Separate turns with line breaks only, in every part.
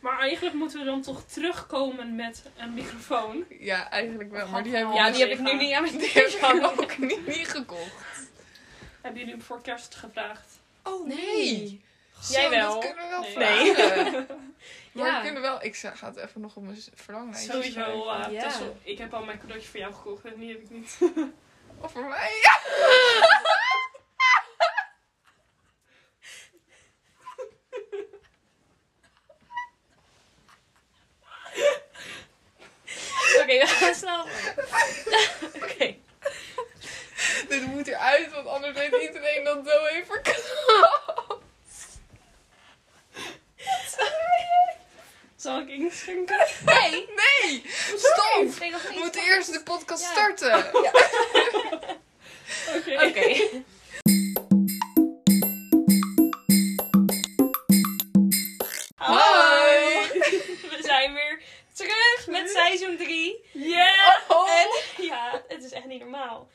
Maar eigenlijk moeten we dan toch terugkomen met een microfoon.
Ja, eigenlijk wel. Maar die hebben
Ja,
we
die heb ik nu niet
aan Die heb ik ook niet, niet gekocht.
Hebben jullie hem voor kerst gevraagd?
Oh
Nee.
Zo,
Jij wel.
Dat kunnen we wel
Nee.
vragen. Maar
Ja.
we kunnen wel... Ik ga het even nog op mijn verlanglijstje schrijven.
Sowieso. eh,
Ja.
Tessel, ik heb al mijn cadeautje voor jou gekocht en die heb ik niet.
Of voor mij.
Oké, we gaan snel. Oké.
Dit moet eruit, want anders weet iedereen dat zo even
Zal ik inschenken?
Nee! Nee! Stop!
Ik nog
We
niet.
moeten eerst de podcast
Ja.
starten.
Oké.
Oké.
Hoi!
We zijn weer terug met seizoen 3. Oh,
Yeah!
Oh.
En ja, het is echt niet normaal.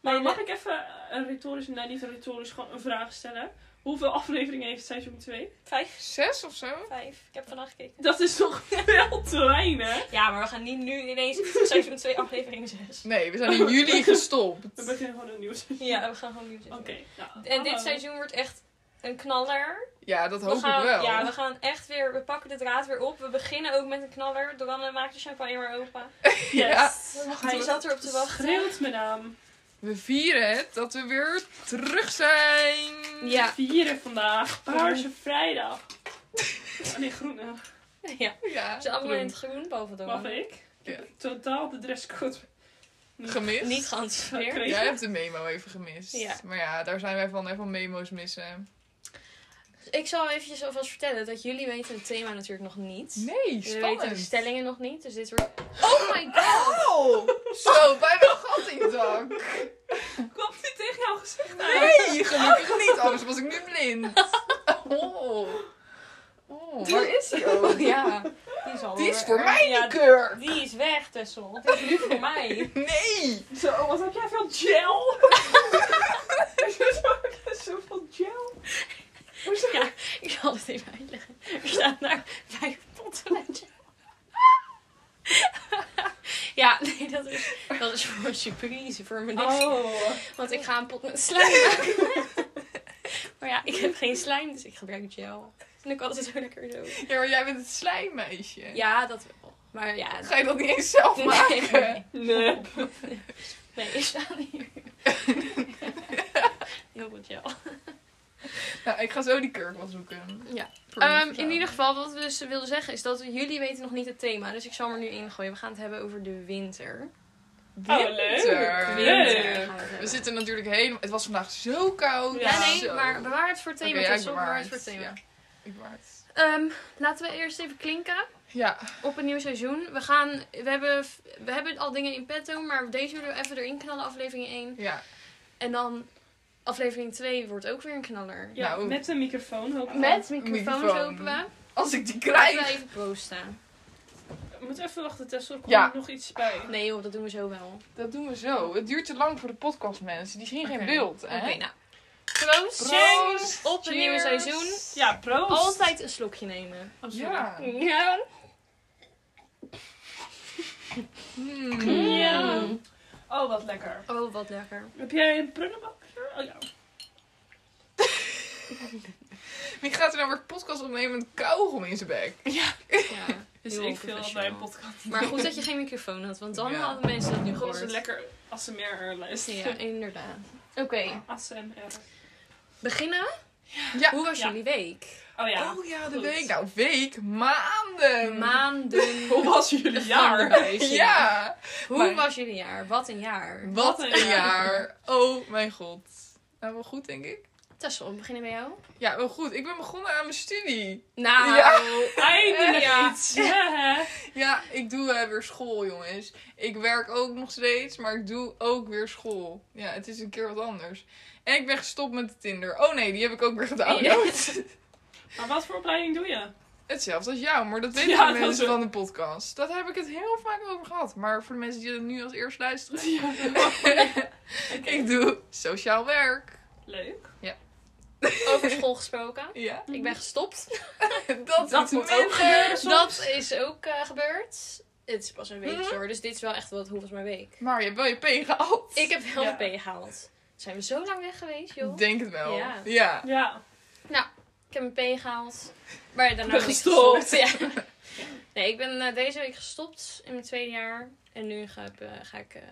Maar
Mijn-
mag ik even een retorische, nou niet een retorische, gewoon een vraag stellen? Hoeveel afleveringen heeft seizoen 2?
Vijf?
Zes of zo?
Vijf. Ik heb vandaag gekeken.
Dat is toch veel te weinig?
Ja, maar we gaan niet nu ineens seizoen 2 aflevering 6.
Nee, we zijn in juli gestopt.
We beginnen gewoon een nieuw seizoen.
Ja, we gaan gewoon nu
Oké. nou,
En dit
hallo.
seizoen wordt echt een knaller.
Ja, dat hoop
we gaan,
ik wel.
Ja, we gaan echt weer, we pakken de draad weer op. We beginnen ook met een knaller. Doranne maakt de champagne maar open.
Ja.
Hij zat erop te wachten.
Schreeuwt mijn naam.
We vieren het dat we weer terug zijn.
Ja.
Vieren vandaag. Paarse vrijdag. Oh nee, groene.
Ja,
Ja.
ze zijn allemaal in
Groen.
het groen boven
Mag
Doranne.
ik? Ik
Ja.
heb totaal de dresscode.
Gemist?
Niet geanticipeerd.
Oké.
Jij hebt de memo even gemist.
Ja.
Maar ja, daar zijn wij van, hè, van memo's missen.
Ik zal eventjes alvast vertellen dat jullie weten het thema natuurlijk nog niet.
Nee,
Jullie weten de
spannend.
stellingen nog niet, dus dit wordt... Oh my god!
Oh, zo, bijna een gat in het dak.
Kwam dit tegen jou gezegd? Ah.
Nee, gelukkig niet, anders was ik nu blind. Oh. Oh, waar is hij ook?
Ja, die is al
Die is
weer-
voor mij
Ja,
die keur.
die is weg, Tessel. Die is nu voor mij.
Nee.
Zo, oh, wat heb jij veel gel? Hoezo heb jij zoveel gel? Hoezo?
Ja, ik zal het even uitleggen. Er staan daar vijf potten met je. Ja, nee, dat is, dat is voor een surprise, voor mijn niks.
Oh.
Want ik ga een pot met slijm maken. Maar ja, ik heb geen slijm, dus ik gebruik gel. En ik had het zo lekker zo.
Ja, maar jij bent het slijmmeisje.
Ja, dat wel. Maar ja,
Ga je dat niet eens zelf maken?
Nee,
Nee.
nee, er staan hier heel veel gel.
Nou, ik ga zo die kurk wel zoeken.
Ja.
Voor die
Ehm, in
verzamelen.
ieder geval, wat we dus wilden zeggen is dat we- jullie weten nog niet het thema. Dus ik zal hem er nu ingooien. We gaan het hebben over de winter.
Oh, leuk.
Winter.
Leuk.
gaan we het
eh, We
hebben.
zitten natuurlijk helemaal... Het was vandaag zo koud.
Ja, nee,
Zo.
maar bewaar het voor het thema.
Oké, ja,
Tessel,
ik
bewaar
bewaar
het voor het
het,
thema.
Ik waard.
Ehm, laten we eerst even klinken
Ja,
op een nieuw seizoen. We, gaan, we, hebben, we hebben al dingen in petto, maar deze willen we even erin knallen, aflevering 1.
ja.
En dan aflevering 2 wordt ook weer een knaller.
Ja,
Nou.
met een microfoon hoop ik.
Met microfoons
Microfoon.
open we.
Als ik die
Laten we
krijg.
even proosten.
We moeten even wachten, Tessel. Er komt
Ja.
nog iets bij.
Nee joh, dat doen we zo wel.
Dat doen we zo. Het duurt te lang voor de podcast, mensen. Die zien geen
Oké.
beeld,
Oké,
hè?
nou. Proost!
Proost.
Op het nieuwe
Cheers.
seizoen.
Ja, proost. Oh,
Altijd een slokje nemen.
Ja.
Ja.
Hmm.
Ja. Oh, wat lekker.
Oh, wat lekker.
Heb jij een prullenbakje? Oh ja.
Wie gaat er nou weer podcast opnemen met kauwgom in zijn bek?
Ja.
Dus
heel
ik veel dat bij een
onprofessioneel.
podcast.
Maar goed dat je geen microfoon had, want dan
Ja.
hadden mensen dat nu
Dat was
gehoord.
een lekker ASMR-lijst.
Ja, inderdaad. Oké,
ASMR.
beginnen?
Ja.
Hoe was
Ja.
jullie week?
Oh ja.
oh ja, de
goed.
week. Nou, week. Maanden.
Maanden.
Hoe was jullie jaar?
van de buis,
Ja.
Hoe
Maar-
was jullie jaar? Wat een jaar.
Wat een jaar. Oh mijn god. Nou, wel goed, denk ik.
Tessel, we beginnen bij jou.
Ja, wel goed. Ik ben begonnen aan mijn studie.
Nou,
Ja.
Eindelijk
Ja.
iets. Ja, hè?
Ja, ik doe eh, weer school, jongens. Ik werk ook nog steeds, maar ik doe ook weer school. Ja, het is een keer wat anders. En ik ben gestopt met Tinder. Oh nee, die heb ik ook weer gedaan.
Maar wat voor opleiding doe je?
Hetzelfde als jou, maar dat weten
Ja,
de
dat
mensen
is-
van de podcast. Dat heb ik het heel vaak over gehad. Maar voor de mensen die het nu als eerst luisteren.
Ja.
ik doe sociaal werk.
Leuk.
Over school gesproken.
Ja,
Ik ben gestopt.
dat,
Dat
is
moet
minder.
ook gebeuren
Dat-
Dat is ook eh, gebeurd. Het is pas een week hoor. Dus dit is wel echt wat hoeveel is mijn week.
Maar je hebt wel je P gehaald.
Ik heb wel
Ja.
een P gehaald. Zijn we zo lang weg geweest, joh?
denk het wel.
Ja.
Ja.
Ja.
Ik heb een P gehaald. Maar daarna
Ben
ben ik
gestopt.
gestopt. Ja. Nee, ik ben eh, deze week gestopt in mijn tweede jaar. En nu ga ik, eh, ga ik eh,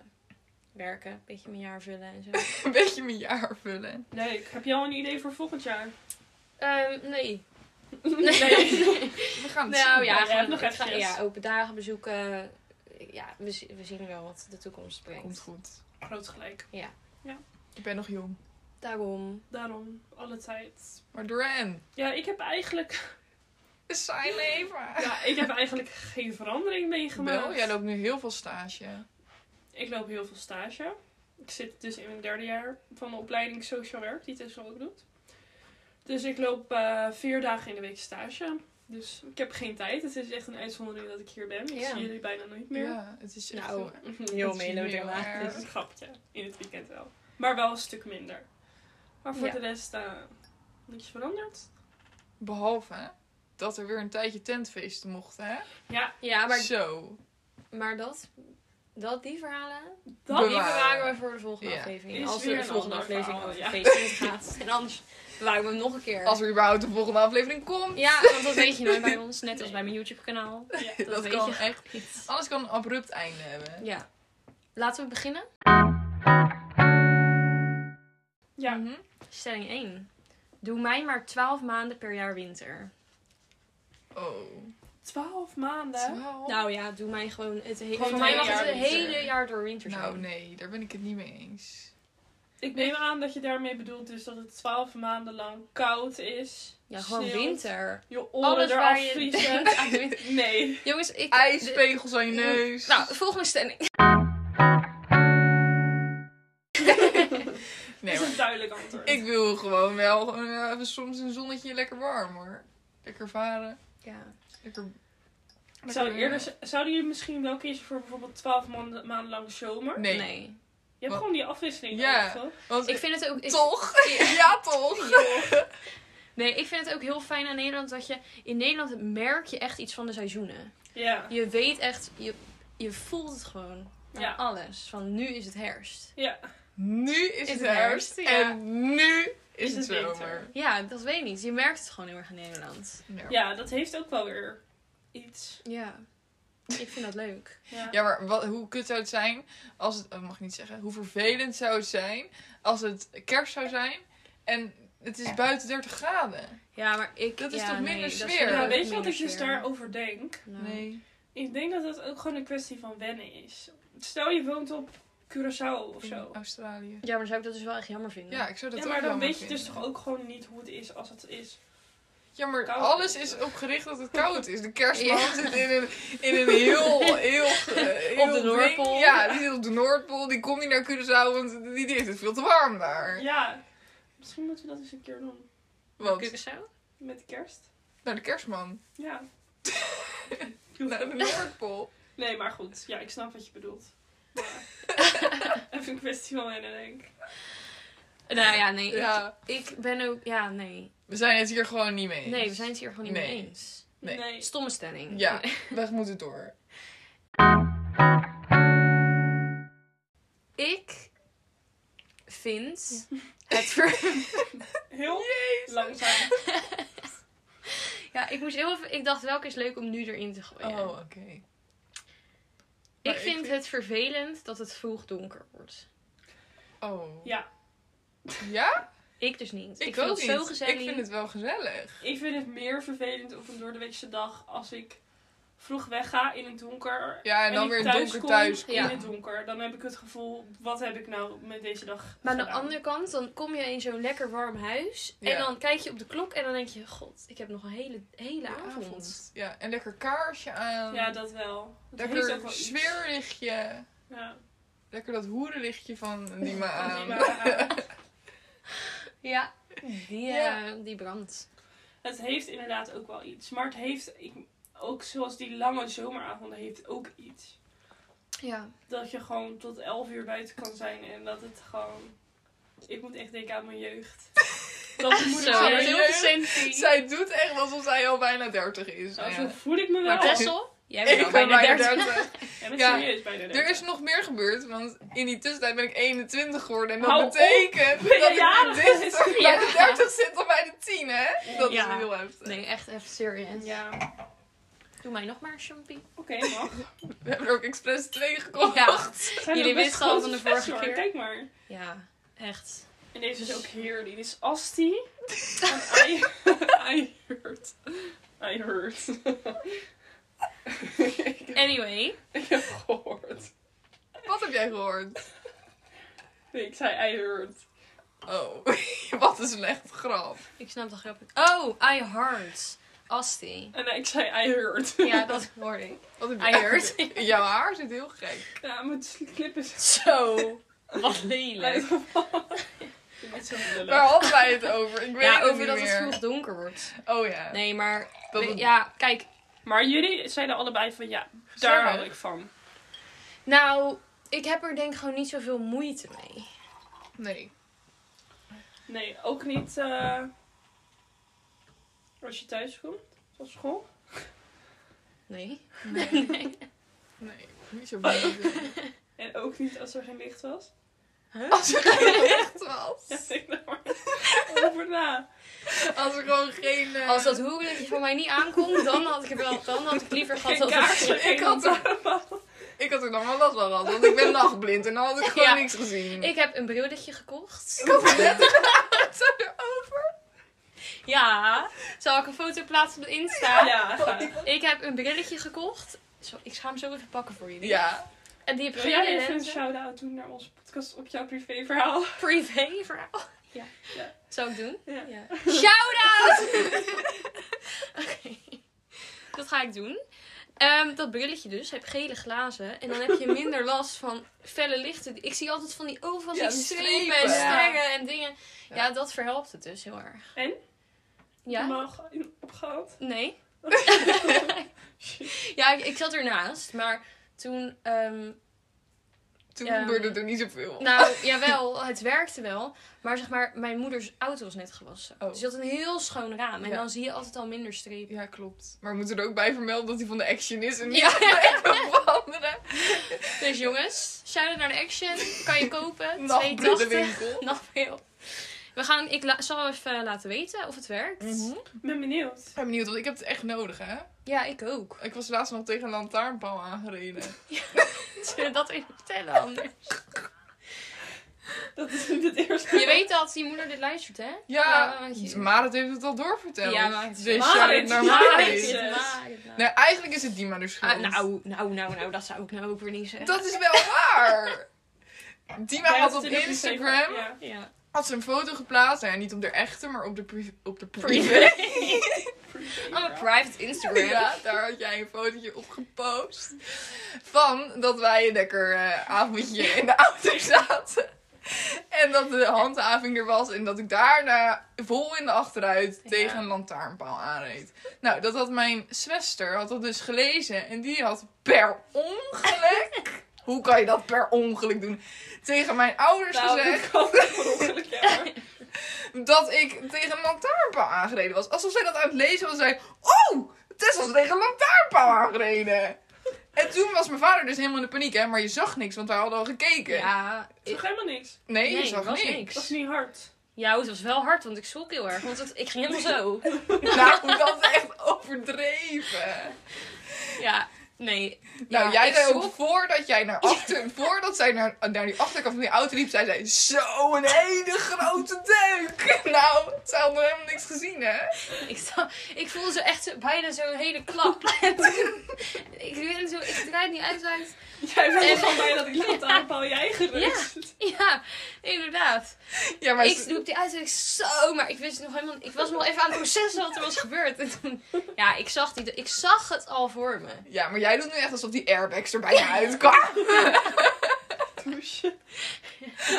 werken. Een beetje mijn jaar vullen en zo.
Een beetje mijn jaar vullen.
Leuk. Heb je al een idee voor volgend jaar?
Ehm, nee.
We gaan het
Nou
zien.
ja,
Ja,
gewoon,
nog
ik ga-
eventjes.
ja, open dagen bezoeken. Ja, we, zi- we zien wel wat de toekomst
Komt
brengt.
goed.
Groot gelijk.
Ik ben nog jong.
Daarom.
Daarom, alle tijd.
Maar Duran,
Ja, ik heb eigenlijk,
is zijn leven.
ja, ik heb eigenlijk geen verandering meegemaakt.
Wel, jij loopt nu heel veel stage.
Ik loop heel veel stage. Ik zit dus in mijn derde jaar van de opleiding Sociaal Werk, die Tessel ook doet. Dus ik loop eh, vier dagen in de week stage. Dus ik heb geen tijd. Het is echt een uitzondering dat ik hier ben. Ik
Ja.
zie jullie bijna nooit meer.
Ja, het is echt
Nou,
heel-
Heel Dus-
Het is
melodramatisch.
Dat is een grapje. In het weekend wel. Maar wel een stuk minder. Maar voor
Ja.
de rest, eh niks veranderd.
Behalve dat er weer een tijdje tentfeesten mochten, hè?
Ja, maar,
Zo.
maar dat, dat, die verhalen,
Dat
die
Bewaren.
bewaren we voor de volgende
Ja.
aflevering.
Is
Als
weer
de
een
volgende
ander
aflevering
verhaal,
over
ja.
feestjes gaat. En anders bewaren we hem nog een keer.
Als er überhaupt een volgende aflevering komt.
Ja, want dat weet je nooit bij ons. Net als
Nee.
bij mijn YouTube kanaal.
Ja.
Dat,
Dat
weet
kan
je
echt.
niet.
Alles kan een abrupt einde hebben.
Ja. Laten we beginnen.
Ja.
Mhm.
Stelling 1. Doe mij maar 12 maanden per jaar winter.
Oh.
Twaalf maanden.
Twaalf?
Nou ja, doe mij gewoon het hele...
Gewoon
Voor mij
het hele
mag het het
jaar winter.
hele jaar door winter zijn.
Nou nee, daar ben ik het niet mee eens.
Ik neem aan dat je daarmee bedoelt dus dat het twaalf maanden lang koud is.
Ja, gewoon
sneeuwt,
winter.
Je oren
Alles
eraf
waar je
vriezen.
denkt aan de winter.
Nee.
Jongens, ik... de-
Ijspegels aan je neus.
Nou, volgende stelling.
nee,
dat is
maar
een duidelijk antwoord.
ik wil gewoon wel gewoon, eh, even soms een zonnetje lekker warm hoor. Lekker varen.
Ja.
Lekker...
Ik zou
lekker-
eerder, z- zouden jullie misschien wel kiezen voor bijvoorbeeld twaalf maanden, maanden lang zomer?
Nee.
Nee.
Je hebt
Wat?
gewoon die afwisseling
Ja.
nodig, toch?
Want
Ik vind het ook... ik-
Toch? Ja, toch?
Nee, ik vind het ook heel fijn aan Nederland dat je... In Nederland merk je echt iets van de seizoenen.
Ja.
Je weet echt... Je, je voelt het gewoon. Aan
Ja.
alles. Van nu is het herfst.
Ja.
Nu is, het herfst.
ja.
En nu is,
Is het
het
winter.
zomer.
Ja, dat weet ik niet. Je merkt het gewoon heel erg in Nederland.
Ja.
ja, dat heeft ook wel weer iets.
Ja. Ik vind dat leuk.
Ja.
Ja, maar wat, hoe kut zou het zijn als het... oh, mag ik niet zeggen. Hoe vervelend zou het zijn als het kerst zou zijn en het is buiten 30 graden?
Ja, maar ik...
Dat is
ja,
toch
nee,
minder
dat vind
sfeer?
ik
Ja,
ook
weet je wat
minder
ik dus
sfeer.
daarover denk?
Nou.
Nee.
Ik denk dat het ook gewoon een kwestie van wennen is. Stel je woont op Curaçao of
In
zo.
Australië.
Ja, maar dan zou ik dat dus wel echt jammer vinden.
Ja, ik zou dat
Ja,
ook
maar dan
jammer
weet je dus
vinden.
toch ook gewoon niet hoe het is als het is.
Ja, maar
koud
alles
is.
is opgericht dat het koud is. De kerstman
Ja.
zit in een, in een heel, heel, eh,
Op de
heel ding.
Noordpool.
Ja, die zit op de Noordpool. Die komt niet naar Curaçao, want die, die heeft het veel te warm daar.
Ja, misschien moeten we dat eens een keer doen.
Want,
Curaçao?
Met de kerst.
naar de kerstman.
Ja.
Naar de Noordpool.
Nee, maar goed. Ja, ik snap wat je bedoelt. Ja. Even een kwestie van wennen, denk ik.
Nou ja, nee. ik-
Ja,
Ik, ben ook... Ja, nee.
we zijn het hier gewoon niet mee eens.
Nee, we zijn het hier gewoon niet
Nee.
mee eens.
Nee.
Stomme stelling.
Ja, we moeten door.
Ik vind het ver...
Heel langzaam.
Ja, ik moest heel even... Ik dacht, welke is leuk om nu erin te gooien?
Oh, oké.
ik,
maar
vind
ik vind-
het vervelend dat het vroeg donker wordt.
Oh.
Ja.
Ja?
Ik dus niet.
Ik,
Ik, vind
ook
het
niet.
zo gezellig.
Ik vind het wel gezellig.
Ik vind het meer vervelend op een doordeweekse dag als ik vroeg wegga in het donker.
Ja, en, dan
ik
weer in het donker
kom
thuis.
In
ja.
het donker. Dan heb ik het gevoel, wat heb ik nou met deze dag
Maar aan de
gedaan?
andere kant, dan kom je in zo'n lekker warm huis. En
Ja.
dan kijk je op de klok en dan denk je... God, ik heb nog een hele, hele
Ja,
avond.
avond. Ja, en lekker kaarsje aan.
Ja, dat wel. Dat heeft ook
lekker
wel iets.
sfeerlichtje.
Ja.
Lekker dat hoerenlichtje van die me
Nee,
aan.
maar, eh,
Ja, die,
Ja.
eh, die brandt.
het heeft inderdaad ook wel iets. Maar het heeft, ik, ook zoals die lange zomeravonden, heeft ook iets.
Ja.
Dat je gewoon tot 11 uur buiten kan zijn en dat het gewoon... Ik moet echt denken aan mijn jeugd. Dat is moeilijk.
Zo,
maar
zijn.
heel
heel Sinti.
Zij doet echt alsof zij al bijna 30 is.
Nou,
Nou
zo
ja.
voel ik me wel.
Maar
Nou,
Tessel, jij bent
Ik
al
ben
bijna
bijna
30.
30.
Jij bent
ja.
serieus bijna
Er
30.
is nog meer gebeurd, want in die tussentijd ben ik 21 geworden. En dat
Hou op.
betekent
Ben je
dat ik
jarig?
dit toch bij
Ja.
de 30 zit of bij de 10, hè? Dat
Ja.
is heel heftig.
Nee, echt even serious.
Ja,
Doe mij nog maar een champie.
oké, mag.
We hebben er ook expres 2 gekocht.
Ja.
Zijn
Jullie
ook best
wisten al
grote
van de vorige
flessen, hoor.
keer.
Kijk maar.
Ja, echt.
En deze is ook heerlijk. Dit is Asti. Van I, I heard. I heard. ik, heb,
Anyway.
ik heb gehoord.
Wat heb jij gehoord?
Nee, ik zei I heard.
Oh, wat een slecht grap.
Ik snap de grap. niet. Oh, I heard. Asti.
En nee, ik zei I heard.
Ja, dat hoorde ik.
Wat heb
I
jij-
heard.
Jouw haar zit heel gek.
Ja, mijn clip is
Zo. Wat lelijk.
uitgevallen. Ik ben zo lullig.
Waar hadden wij het over? Ik weet
Ja,
het
over
niet
dat het
meer.
vroeg donker wordt.
Oh ja.
Nee, maar...
Dat
we-
het-
Ja, kijk.
Maar jullie zeiden allebei van ja, daar
Gezellig.
hou ik van.
Nou, ik heb er denk ik gewoon niet zoveel moeite mee.
Nee.
Nee, ook niet eh, als je thuis komt van school.
Nee.
Nee. Nee. Niet zo blij.
En ook niet als er geen licht was.
Als er geen licht was.
Ja, denk daar maar over na.
Als er gewoon geen... eh,
Als dat hoerenlichtje van mij niet aankomt, dan had ik er wel... Dan had ik liever gehad dat het-
ik had er- Ik had er dan wel last van gehad, want ik ben nachtblind en dan had ik gewoon
Ja.
niks gezien.
Ik heb een brilletje gekocht.
Ik had het net gepraat erover.
Ja. Zal ik een foto plaatsen op Insta?
Ja, ga.
Ik heb een brilletje gekocht. Zo, ik ga hem zo even pakken voor jullie.
Ja.
En die heb
Wil jij
gele
even een
lenzen.
shout-out doen naar onze podcast op jouw privéverhaal?
Privé verhaal.
Ja. Ja.
Zou ik doen?
Ja.
Shout out! Oké. Dat ga ik doen. Ehm, dat brilletje dus, heb gele glazen. En dan heb je minder last van felle lichten. Ik zie altijd van die overal
Ja,
die
die
strepen en
strepen.
sterren
Ja.
en dingen. Ja.
Ja.
dat verhelpt het dus heel erg.
En?
Ja?
Mag opgehaald?
Nee. Ja, ik, ik zat ernaast. Maar toen ehm,
Toen
Ja.
gebeurde er niet zoveel.
Nou, jawel, het werkte wel. Maar zeg maar, mijn moeders auto was net gewassen.
Oh.
Dus je had een heel schoon raam. En
Ja.
dan zie je altijd al minder strepen.
Ja, klopt. Maar we moeten er ook bij vermelden dat hij van de action is en niet
Ja.
van anderen.
Dus jongens, shout-out naar de Action. Kan je kopen.
Nachtblinde
2,80.
winkel.
Nog veel. We gaan, ik la- zal even laten weten of het werkt.
Ik
Ik ben benieuwd.
ben benieuwd, want ik heb het echt nodig, hè?
Ja, ik ook.
Ik was laatst nog tegen een lantaarnpaal aangereden.
Zullen we dat even vertellen anders?
Dat is niet het eerste.
Je weet dat die moeder dit luistert, hè?
Ja, dus
want je-
Marit heeft het al doorverteld.
Ja, Marit.
Dus
Marit,
shout-out naar
Marit.
Marit.
Jezus.
Marit, nou.
Nou, eigenlijk is het die maar dus de schuld.
Ah, nou, nou, nou, nou, dat zou ik nou ook weer niet zeggen.
Dat is wel waar. Dima
Jij
had
het
op
in de privé-
Instagram
Ja.
Ja.
had ze een foto geplaatst. Nou ja, niet op de echte, maar op de, pri- op de privé.
Privé. Oh, een private Instagram.
Ja, daar had jij een fotootje op gepost. Van dat wij een lekker eh, avondje in de auto zaten. En dat de handhaving er was. En dat ik daarna vol in de achteruit
Ja.
tegen een lantaarnpaal aanreed. Nou, dat had mijn zuster had dat dus gelezen. En die had per ongeluk... Hoe kan je dat per ongeluk doen? Tegen mijn ouders
Nou,
gezegd
ik had het per ongeluk, ja.
dat ik tegen een lantaarnpaal aangereden was. Alsof zij dat aan het lezen was en zei: Oh, Tess was tegen een lantaarnpaal aangereden. En toen was mijn vader dus helemaal in de paniek, hè? Maar je zag niks, want wij hadden al gekeken.
Ja,
Het was helemaal niks.
Nee,
Nee,
je zag
was
niks.
Dat is niet hard.
Ja, oh, het was wel hard, want ik schrok heel erg. Want het- ik ging helemaal zo.
Nou, dat is echt overdreven.
Ja, nee.
Nou,
Ja,
jij
ik
zei ook
schrok.
voordat jij naar achter, voordat zij naar, naar die achterkant van die auto liep, zij zei: Zo, een hele grote deuk. Nou, zij had nog helemaal niks gezien, hè?
Ik, sta, ik voelde zo echt zo- bijna zo'n hele klap. En toen- ik, ben zo, ik draai het niet uit. uit.
Jij
En-
bent gewoon bij dat ik dat aanpaal jij gerust.
Ja, inderdaad.
Ja, maar
Ik doe die uit en ik zo, maar ik wist nog helemaal Ik was nog even aan het processen wat er was gebeurd. En toen, ja, ik zag, die, ik zag het al voor me.
Ja, maar jij doet nu echt alsof die airbags er bijna uitkwamen.
Douche.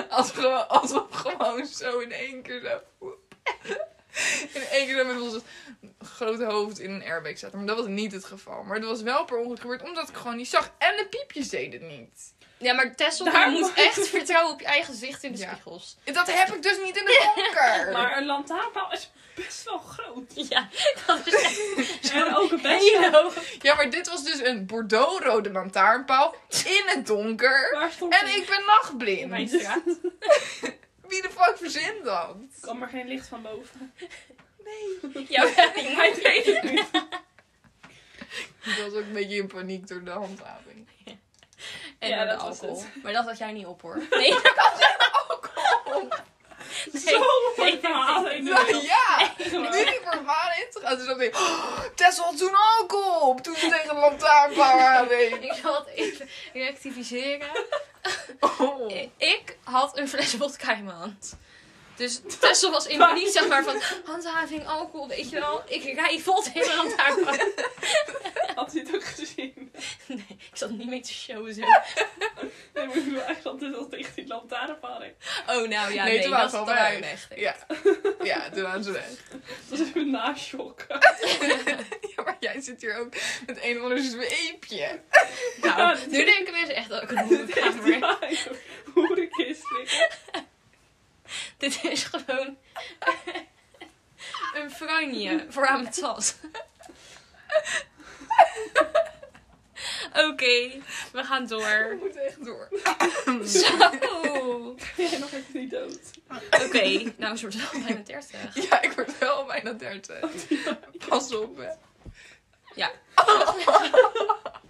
Als we, als we gewoon zo in één keer zo. In één keer met ons grote hoofd in een airbag zaten. Maar dat was niet het geval. Maar dat was wel per ongeluk gebeurd, omdat ik gewoon niet zag. En de piepjes deden het niet.
Ja, maar Tessel,
Daar
je moet
moet-
echt vertrouwen op je eigen gezicht in de
Ja.
spiegels.
Dat heb ik dus niet in de donker.
Maar een lantaarnpaal is best wel groot.
Ja, dat is echt
En ook een best
heel
wel.
hoog.
Ja, maar dit was dus een bordeauxrode lantaarnpaal in het donker.
Waar stond
En
die?
ik ben
in mijn
nachtblind.
straat.
Wie de fuck verzint dat?
kwam er geen licht van boven.
Ja,
Maar ik weet het niet.
Ik was ook een beetje in paniek door de handhaving.
en
Ja,
door de
dat was
alcohol. Maar dat had jij niet op hoor. Nee, dat had jij alcohol.
Zo mooi verhaal. Ik doe
Nou
het
ja!
gewoon.
Nu die verhaal in te gaan, toen dacht ik, oh, Tessel had toen alcohol op toen ze tegen een lantaarnpaal aanreed.
Ik zal het even rectificeren.
Oh.
I- Eh, Ik had een fles vodka in mijn hand. Dus Tessel was in paniek, zeg maar, van handhaving, alcohol, weet je wel. Ik rij vol tegen een lantaarnpaal.
Had hij het ook gezien?
Nee, ik zat niet mee te showen zo.
Nee, maar ik bedoel eigenlijk altijd al tegen die lantaarnpaal. hè.
Oh, nou ja,
Nee,
nee,
toen
dat
waren ze
dan
al
waren we
weg.
echt.
Ja. ja, toen waren ze weg.
Dat is een nashock.
Ja, maar jij zit hier ook met een of ander zweepje.
Nou, nu denken mensen echt dat ik een
Dit heeft
hoerenkamer
die waaier. hoerenkist liggen.
Dit is gewoon een franje voor aan mijn tas. Oké, we gaan
We
door.
moeten echt door.
Zo. Oké,
Ben jij nog even niet dood?
nou is het wel bijna 30.
Ja, ik word wel bijna 30. Pas op, hè.
Ja.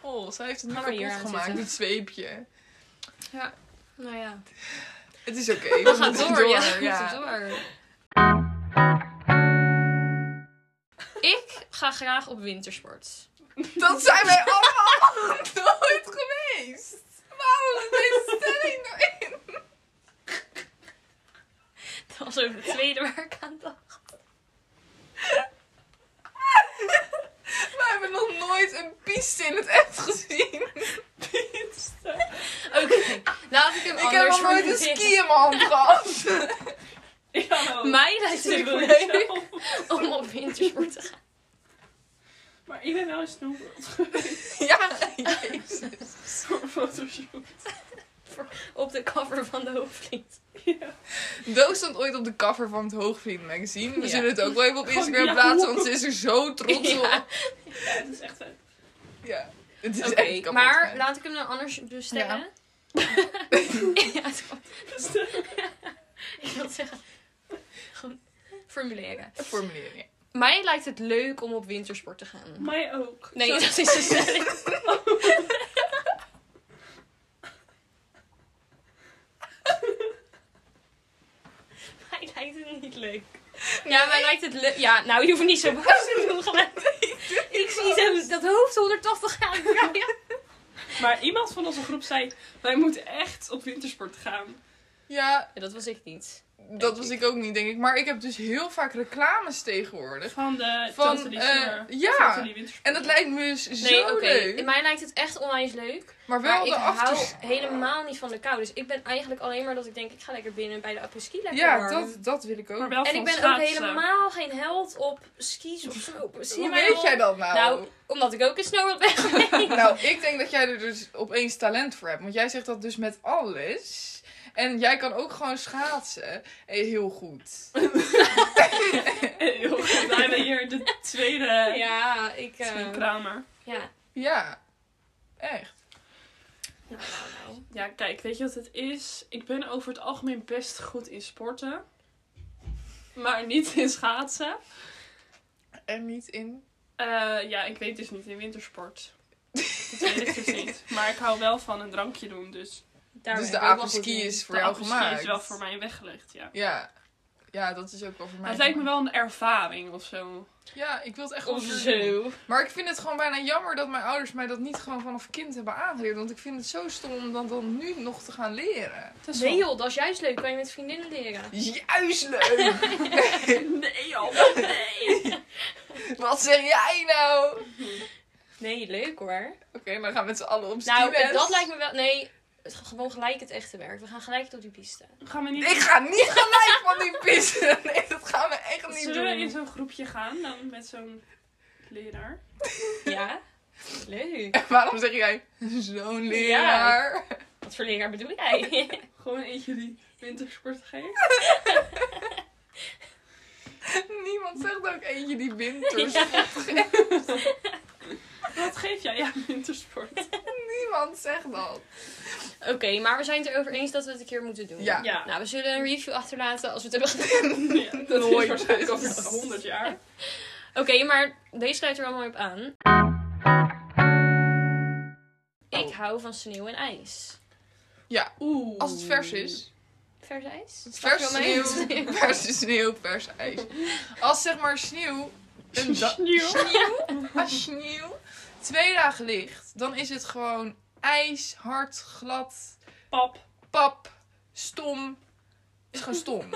Oh, zij heeft het nu
Gaan we hier
kapot
aan
gemaakt,
zitten?
dit zweepje.
Nou ja,
Het is oké.
we gaan
moeten
door. Ja, we moeten door. Ik ga graag op wintersport.
Dat zijn wij allemaal nooit geweest. Waarom is deze stelling erin?
Dat was ook de tweede waar ik aan dacht.
Wij hebben nog nooit een piste in het echt gezien.
Oké, laat ik hem
Ik heb
anders
nog nooit een
formuleren.
ski in mijn hand gehad.
Ja, nou,
Mij lijkt
ik
het
wil
leuk
jezelf.
om op wintersport te gaan.
Maar ik ben wel eens snoeperend geweest
Ja, jezus.
voor een fotoshoot.
Op de cover van de hoofdlied.
Ja.
Doos stond ooit op de cover van het Hoogvliet magazine. We
Ja.
zullen het ook wel even op
Gewoon,
Instagram
ja,
plaatsen,
hoe-
want ze is er zo trots op.
Ja.
Oh, Ja.
ja, dat is echt vet.
Het is
Oké,
echt kapot.
maar
fijn.
laat ik hem dan anders bestellen. Ja, het is gewoon- ik wil zeggen. Gewoon formuleren.
Formuleren, ja.
Mij lijkt het leuk om op wintersport te gaan.
Mij ook.
Nee,
Zo-
dat is dus de stelling. Mij lijkt het niet leuk. Ja, mij lijkt het leuk. Ja, nou, je hoeft niet zo boos te doen. gelijk. Ik zie zo dat hoofd 180 graden draaien.
Maar iemand van onze groep zei, wij moeten echt op wintersport gaan.
Ja,
Ja, dat was ik niet.
dat was ik ook niet, denk ik. Maar ik heb dus heel vaak reclames tegenwoordig.
Van de
Van,
Tante Lee
eh,
Summer.
ja.
Tante Lee Wintersport.
En dat lijkt me dus
Nee,
zo
oké.
leuk.
Mij lijkt het echt onwijs leuk.
Maar wel
Maar ik
de
hou
achter...
helemaal niet van de kou. Dus ik ben eigenlijk alleen maar dat ik denk, ik ga lekker binnen bij de apres-ski lekker
Ja,
warm.
dat, dat wil ik ook.
Maar wel
En
van
ik ben ook
schaatsen.
helemaal geen held op skis of snow. Zie je
Hoe
mij
weet
al?
jij dat nou?
Nou,
nou?
omdat ik ook een snowboard ben geweest.
ik denk dat jij er dus opeens talent voor hebt. Want jij zegt dat dus met alles. En jij kan ook gewoon schaatsen. Eh, Heel goed.
Eh, joh, we hebben hier de tweede,
Ja, ik... eh,
ehm,
tweede kramer.
ja.
Ja, echt.
Nou, nou, nou.
Ja, kijk, weet je wat het is? Ik ben over het algemeen best goed in sporten. Maar niet in schaatsen.
En niet in.
Eh, ja, ik weet dus niet in wintersport. Dat weet ik dus niet. Maar ik hou wel van een drankje doen, dus
Daar
dus
ben
de
ik ook wel goed
apenski
in.
is voor
de
jou
appelski
gemaakt.
is wel voor mij weggelegd, ja.
Ja. ja, dat is ook wel voor mij.
Maar het lijkt me
gemaakt.
wel een ervaring of zo.
Ja, ik wil het echt wel
Of
een keer doen.
zo.
Maar ik vind het gewoon bijna jammer dat mijn ouders mij dat niet gewoon vanaf kind hebben aangeleerd. Want ik vind het zo stom om dat dan nu nog te gaan leren.
Nee joh, dat is juist leuk. Kan je met vriendinnen leren.
Juist leuk!
nee joh, nee.
Wat zeg jij nou? Oké,
Nee, leuk hoor.
maar dan gaan we met z'n allen op
Nou,
ski-west.
dat lijkt me wel... Nee, het, gewoon gelijk het echte werk. We gaan gelijk tot die piste.
Gaan we niet...
Ik ga niet gelijk van die pissen. Nee, dat gaan we echt niet
Zullen we in
doen.
zo'n groepje gaan dan met zo'n leraar?
Ja? Leuk.
En waarom zeg jij zo'n leraar?
Wat voor leraar bedoel jij?
Gewoon eentje die wintersport geeft?
Niemand zegt ook eentje die winters.
Wat geef jij? Ja, wintersport.
Niemand zegt dat.
Oké, maar we zijn het erover eens dat we het een keer moeten doen.
Ja.
Ja.
Nou, we zullen een review achterlaten als we het hebben gedaan.
Ja, dat
Nooit.
is waarschijnlijk over 100 jaar.
Oké, maar deze sluit er wel mooi op aan. Ik hou van sneeuw en ijs.
Oeh.
Als het vers is.
Vers ijs?
Vers
Pak je
sneeuw,
wel mee?
verse sneeuw, vers ijs. Als zeg maar sneeuw, een da-
Sneeuw.
als sneeuw twee dagen ligt, dan is het gewoon ijs, hard, glad,
Pap.
pap, stom. Is gewoon stom.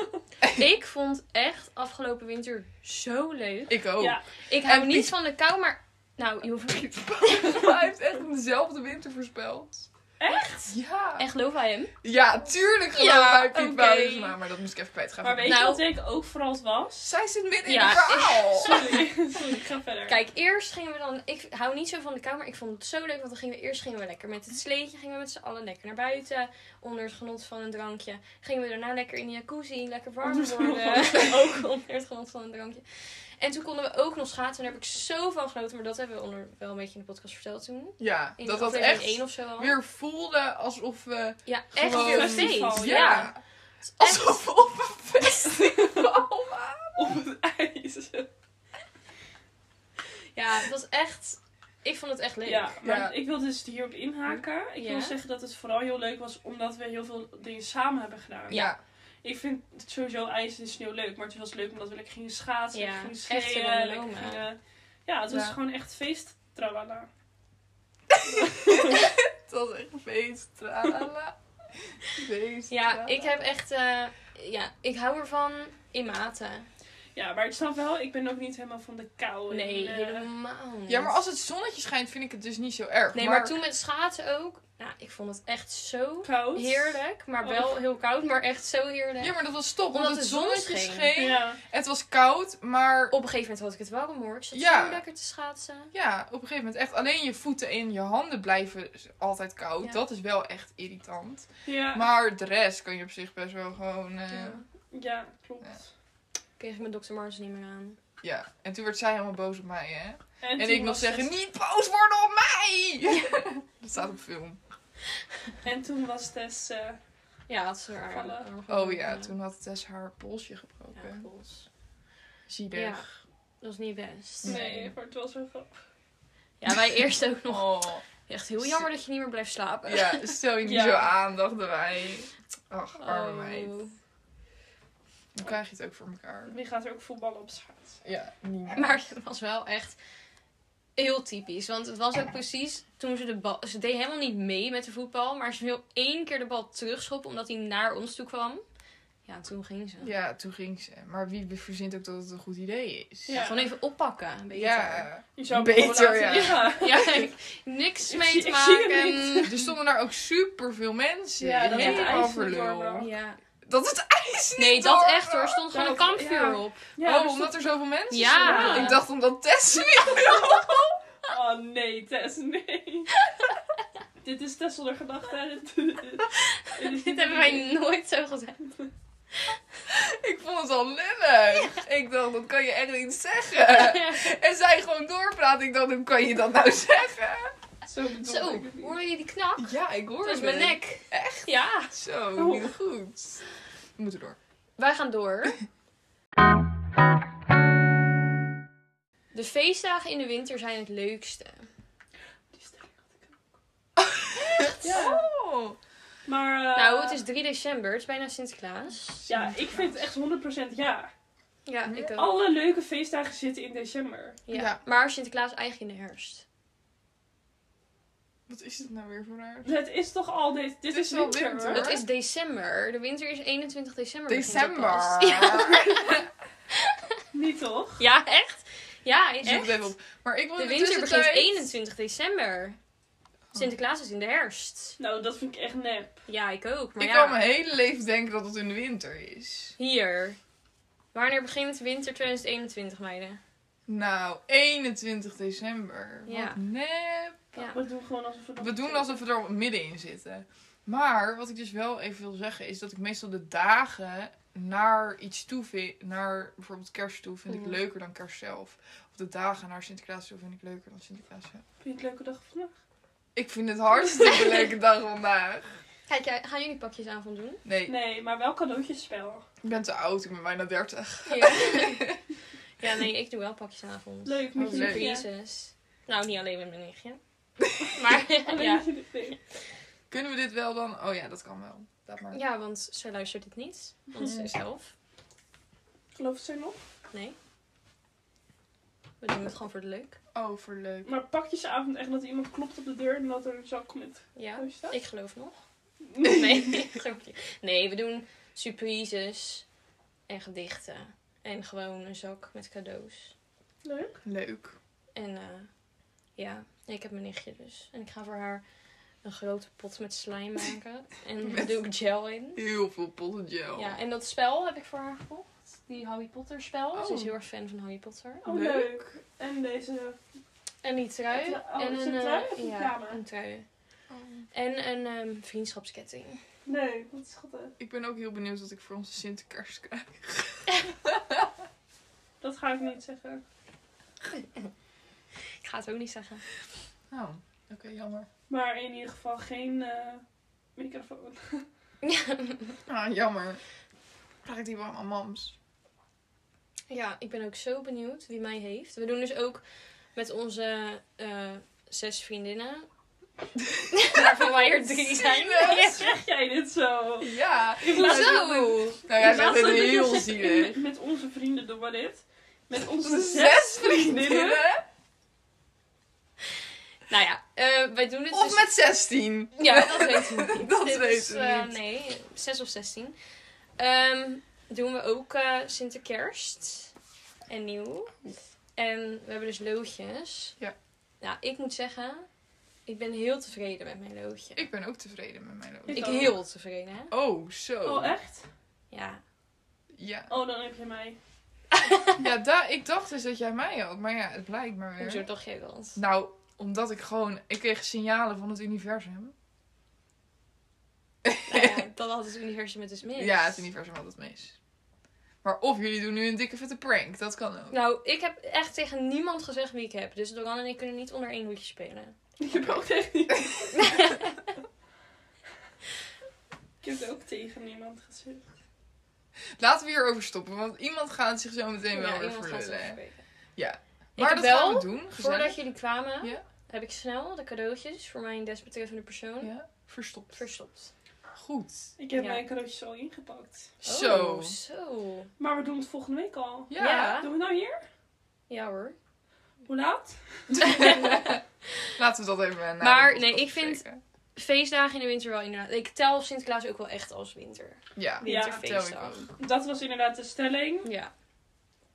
Ik vond echt afgelopen winter zo leuk.
Ik ook.
Ja.
Ik hou
En
niet
Piet-
van de kou, maar... Nou, je hoeft niet.
Maar hij heeft echt dezelfde winter voorspeld. Echt? Ja.
En geloof hij hem?
Ja, tuurlijk geloof
Ja,
ik Piet
oké.
Boudersma, maar dat moest ik even kwijt gaan.
Maar weet
Nou.
je wat ik ook vooral het was?
Zij zit midden in
Ja,
het verhaal.
Sorry. Sorry, ik ga verder.
Kijk, eerst gingen we dan... Ik hou niet zo van de kou, maar ik vond het zo leuk. Want dan gingen we eerst gingen we lekker met het sleetje. Gingen we met z'n allen lekker naar buiten. Onder het genot van een drankje. Gingen we daarna lekker in de jacuzzi. Lekker warm
Onder het genot
worden. ook onder het genot van een drankje. En toen konden we ook nog schaatsen. En daar heb ik zo van genoten. Maar dat hebben we onder, wel een beetje in de podcast verteld toen.
Ja,
In
dat dat
aflevering
echt
1 of zo al.
weer voelde alsof we...
ja, echt
gewoon-
weer een
Festival,
feest.
ja.
Ja.
Alsof we op een festival waren.
Op het ijs.
Ja, dat was echt... Ik vond het echt leuk.
Ja, maar
Ja.
ik wil dus hierop inhaken. Ik
Ja.
wil zeggen dat het vooral heel leuk was omdat we heel veel dingen samen hebben gedaan.
Ja.
Ik vind het sowieso ijs en sneeuw leuk, maar het was leuk omdat we lekker gingen schaatsen,
Ja,
lekker gingen
echt
sleeën,
veel
lekker
ondernomen.
gingen... Ja, het was
Ja.
gewoon echt feest, tralala.
Het was echt een feest. Tralala. Feest.
Ja,
tralala.
ik heb echt... eh, ja, ik hou ervan in mate.
Ja, maar ik snap wel, ik ben ook niet helemaal van de kou. en,
Nee,
eh,
helemaal niet.
Ja, maar als het zonnetje schijnt vind ik het dus niet zo erg.
Nee, maar... toen met schaatsen ook. Nou, ik vond het echt zo
koud.
heerlijk. Maar wel
Oh.
heel koud, maar echt zo heerlijk.
Ja, maar dat was top. Want
Omdat
het
de zon
zonnetje
scheen.
scheen.
Ja.
Het was koud, maar...
Op een gegeven moment had ik het wel warm hoor. Ik zat
Ja.
zo lekker te schaatsen.
Ja, op een gegeven moment echt. Alleen je voeten en je handen blijven altijd koud.
Ja.
Dat is wel echt irritant.
Ja.
Maar de rest kan je op zich best wel gewoon... eh,
Ja.
ja.
ja, klopt.
Ja.
Kreeg ik mijn Dr. Martens niet meer aan.
En toen werd zij helemaal boos op mij, hè. En,
toen
ik nog
was
zeggen,
het-
niet boos worden op mij! dat staat op film.
En toen was Tess... eh,
Ja, had ze haar
Vallen.
arm gewoon,
Oh ja,
eh,
toen had Tess haar polsje
ja,
gebroken.
pols.
Zielig.
Ja. Dat was niet best.
Nee.
nee, maar het was wel grappig.
Ja, wij eerst ook nog.
Oh.
Echt heel jammer dat je niet meer blijft slapen.
Ja, stel je niet
Ja.
zo aan, dachten wij. Ach, arme
Oh.
meid. Dan krijg je het ook voor elkaar.
Wie gaat er ook voetballen op schaats?
Ja, niet.
Maar het was wel echt heel typisch. Want het was ook precies toen ze de bal... Ze deed helemaal niet mee met de voetbal. Maar ze wil één keer de bal terugschoppen omdat hij naar ons toe kwam. Ja, toen ging ze.
Ja, toen ging ze. Maar wie verzint ook dat het een goed idee is?
Ja.
Gewoon even oppakken. Beter.
Ja.
Je zou
Beter,
hem gewoon laten
ja.
liggen.
Ja, ik- niks
Ik
mee
zie-
te
ik zie hem
maken.
Er stonden daar ook superveel mensen.
Ja, dat
het
Helemaal
ijs niet
verlul.
doorbrak.
Ja.
Dat het ijs niet
Nee, dat
doorbrak.
echt hoor. Stond gewoon een
Dat-
kampvuur
ja.
op.
Ja,
oh,
er
omdat er zoveel mensen
Ja.
stonden? Ik dacht omdat Tess
Oh nee, Tess, nee. Dit is Tess zonder gedachten. Dit,
Dit hebben wij nooit zo gedaan.
Ik vond het al lullig. Ik dacht, dat kan je echt niet zeggen. En zij gewoon doorpraat. Ik dacht, hoe kan je dat nou zeggen?
Zo bedoel
Zo,
ik het niet.
hoorde je die knak?
Ja, ik hoor
Dat is mijn
het.
nek. Echt? Ja.
Zo,
Oh.
niet goed. We moeten door.
Wij gaan door. De feestdagen in de winter zijn het leukste.
Die stelling had ik ook. Ja.
Oh.
Maar... eh,
Nou, het is 3 december, het is bijna Sinterklaas.
Ja, ik vind het echt 100% ja.
Ja, ik ook.
Alle leuke feestdagen zitten in december.
Ja.
Oh, Ja.
Maar Sinterklaas eigenlijk in de herfst.
Wat is dit nou weer voor raar?
Het is toch al... Dit, dit
Het
is
is wel
winter,
winter.
hoor.
Het is december. De winter is 21 december. begint dat
December.
pas. Ja,
Niet toch?
ja, echt? Ja,
Ik zoek het
echt.
even op. Maar ik wil
De
in
winter begint
tussentijd-
21 december. Sinterklaas is in de herfst.
Nou, dat vind ik echt nep.
Ja, ik ook. Maar
Ik
ja,
kan mijn hele leven denken dat het in de winter is.
hier. Wanneer begint winter 2021, meiden?
Nou, 21 december.
Ja.
Wat nep.
Ja.
We doen gewoon alsof we dat
We doen alsof we er middenin zitten. Maar wat ik dus wel even wil zeggen is dat ik meestal de dagen naar iets toe vind. Naar bijvoorbeeld kerst toe vind ik
Ja.
leuker dan kerst zelf. Of de dagen naar Sinterklaas toe vind ik leuker dan Sinterklaas zelf.
Vind je het leuke dag vandaag?
Ik vind het hartstikke leuke dag vandaag.
Kijk, jij, gaan jullie pakjesavond doen?
Nee,
Nee, maar wel cadeautjespel.
ik ben te oud. Ik ben bijna 30.
Ja. ja, nee, ik doe wel pakjesavond.
Leuk, met
Oh,
je
leuk.
nichtje.
Jezus. Nou, niet alleen met mijn nichtje. Maar ja.
Alleen met je nichtje.
Kunnen we dit wel dan? Oh ja, dat kan wel. Laat maar.
ja, want zij luistert het niet. Want ze is elf.
Gelooft zij nog?
Nee. We doen het gewoon voor de leuk.
Oh, voor leuk.
Maar pakjesavond echt dat iemand klopt op de deur en dat er een zak met
Ja,
thuis staat?
ik geloof nog. Nee, ik geloof niet. nee, we doen surprises en gedichten. En gewoon een zak met cadeaus.
Leuk.
Leuk.
En eh, ja, ik heb mijn nichtje dus. En ik ga voor haar een grote pot met slijm maken. En daar doe ik gel in.
Heel veel pottengel.
Ja, en dat spel heb ik voor haar gekocht. Die Harry Potter spel. Ze is
Oh.
heel erg fan van Harry Potter.
Oh, leuk. En deze.
En die trui.
Oh,
en
is het een trui
eh,
of een
ja,
pyjama?
een trui.
Oh.
En een ehm, vriendschapsketting.
Nee, wat schattig.
Ik ben ook heel benieuwd wat ik voor onze Sinterkerst krijg.
Dat ga ik niet zeggen.
Ik ga het ook niet zeggen.
Nou, oké, jammer.
Maar in ieder geval geen eh, microfoon.
Ah, jammer. Krijg ik die bij mijn mams.
Ja, ik ben ook zo benieuwd wie mij heeft. We doen dus ook met onze eh, zes vriendinnen. Waarvan wij er drie zijn.
Waarom zeg jij dit zo?
Ja.
Ik laat
Zo!
het niet.
Nou, jij
Ik laat
bent
het niet.
heel zielig.
Met- Met onze vrienden doen we dit. Met onze
Onze
zes.
zes vriendinnen?
Nou ja, eh, wij doen het
Of
dus...
met zestien?
Ja, dat weten we niet.
Dat
Dit
weten
is,
we
eh,
niet.
Nee, zes of zestien. Ehm, doen we ook eh Sinterkerst en Nieuw. En we hebben dus loodjes.
Ja.
Nou, ik moet zeggen, ik ben heel tevreden met mijn loodje.
Ik ben ook tevreden met mijn
Ik
loodje.
Ik
ook.
heel tevreden, hè?
Oh, zo.
Oh, echt?
Ja.
Ja,
Oh, dan heb je mij.
ja da ik dacht dus dat jij mij ook, maar ja, het blijkt maar weer.
Hoezo toch jij dat?
Nou, omdat ik gewoon... Ik kreeg signalen van het universum.
Nou ja, dat had het universum het dus mis.
Ja, het universum had het mis. Maar of jullie doen nu een dikke vette prank, dat kan ook.
Nou, ik heb echt tegen niemand gezegd wie ik heb. Dus Doran en ik kunnen niet onder één hoedje spelen.
Ik heb ook tegen niemand. ik heb het ook tegen niemand gezegd.
Laten we hierover stoppen, want iemand gaat zich zo meteen wel
Oh ja,
weer
iemand gaat
verlullen.
zelf
hè.
spreken.
Ja.
Ik
Maar
heb
dat
wel,
gaan we doen,
voordat
gezellig.
jullie kwamen,
Ja.
heb ik snel de cadeautjes voor mijn desbetreffende persoon
Ja, verstopt.
verstopt.
Goed.
Ik heb
Ja.
mijn cadeautjes al ingepakt.
Zo.
Oh, zo.
Maar we doen het volgende week al.
Ja.
Ja.
Doen we het nou hier?
Ja hoor.
Hoe laat?
Laten we dat even eh, na
Maar,
de
nee,
podcast
ik vind-
bespreken.
Feestdagen in de winter wel inderdaad. Ik tel Sinterklaas ook wel echt als winter.
Ja,
Ja,
tel ik
Winterfeestdag.
ook.
Dat was inderdaad de stelling.
Ja.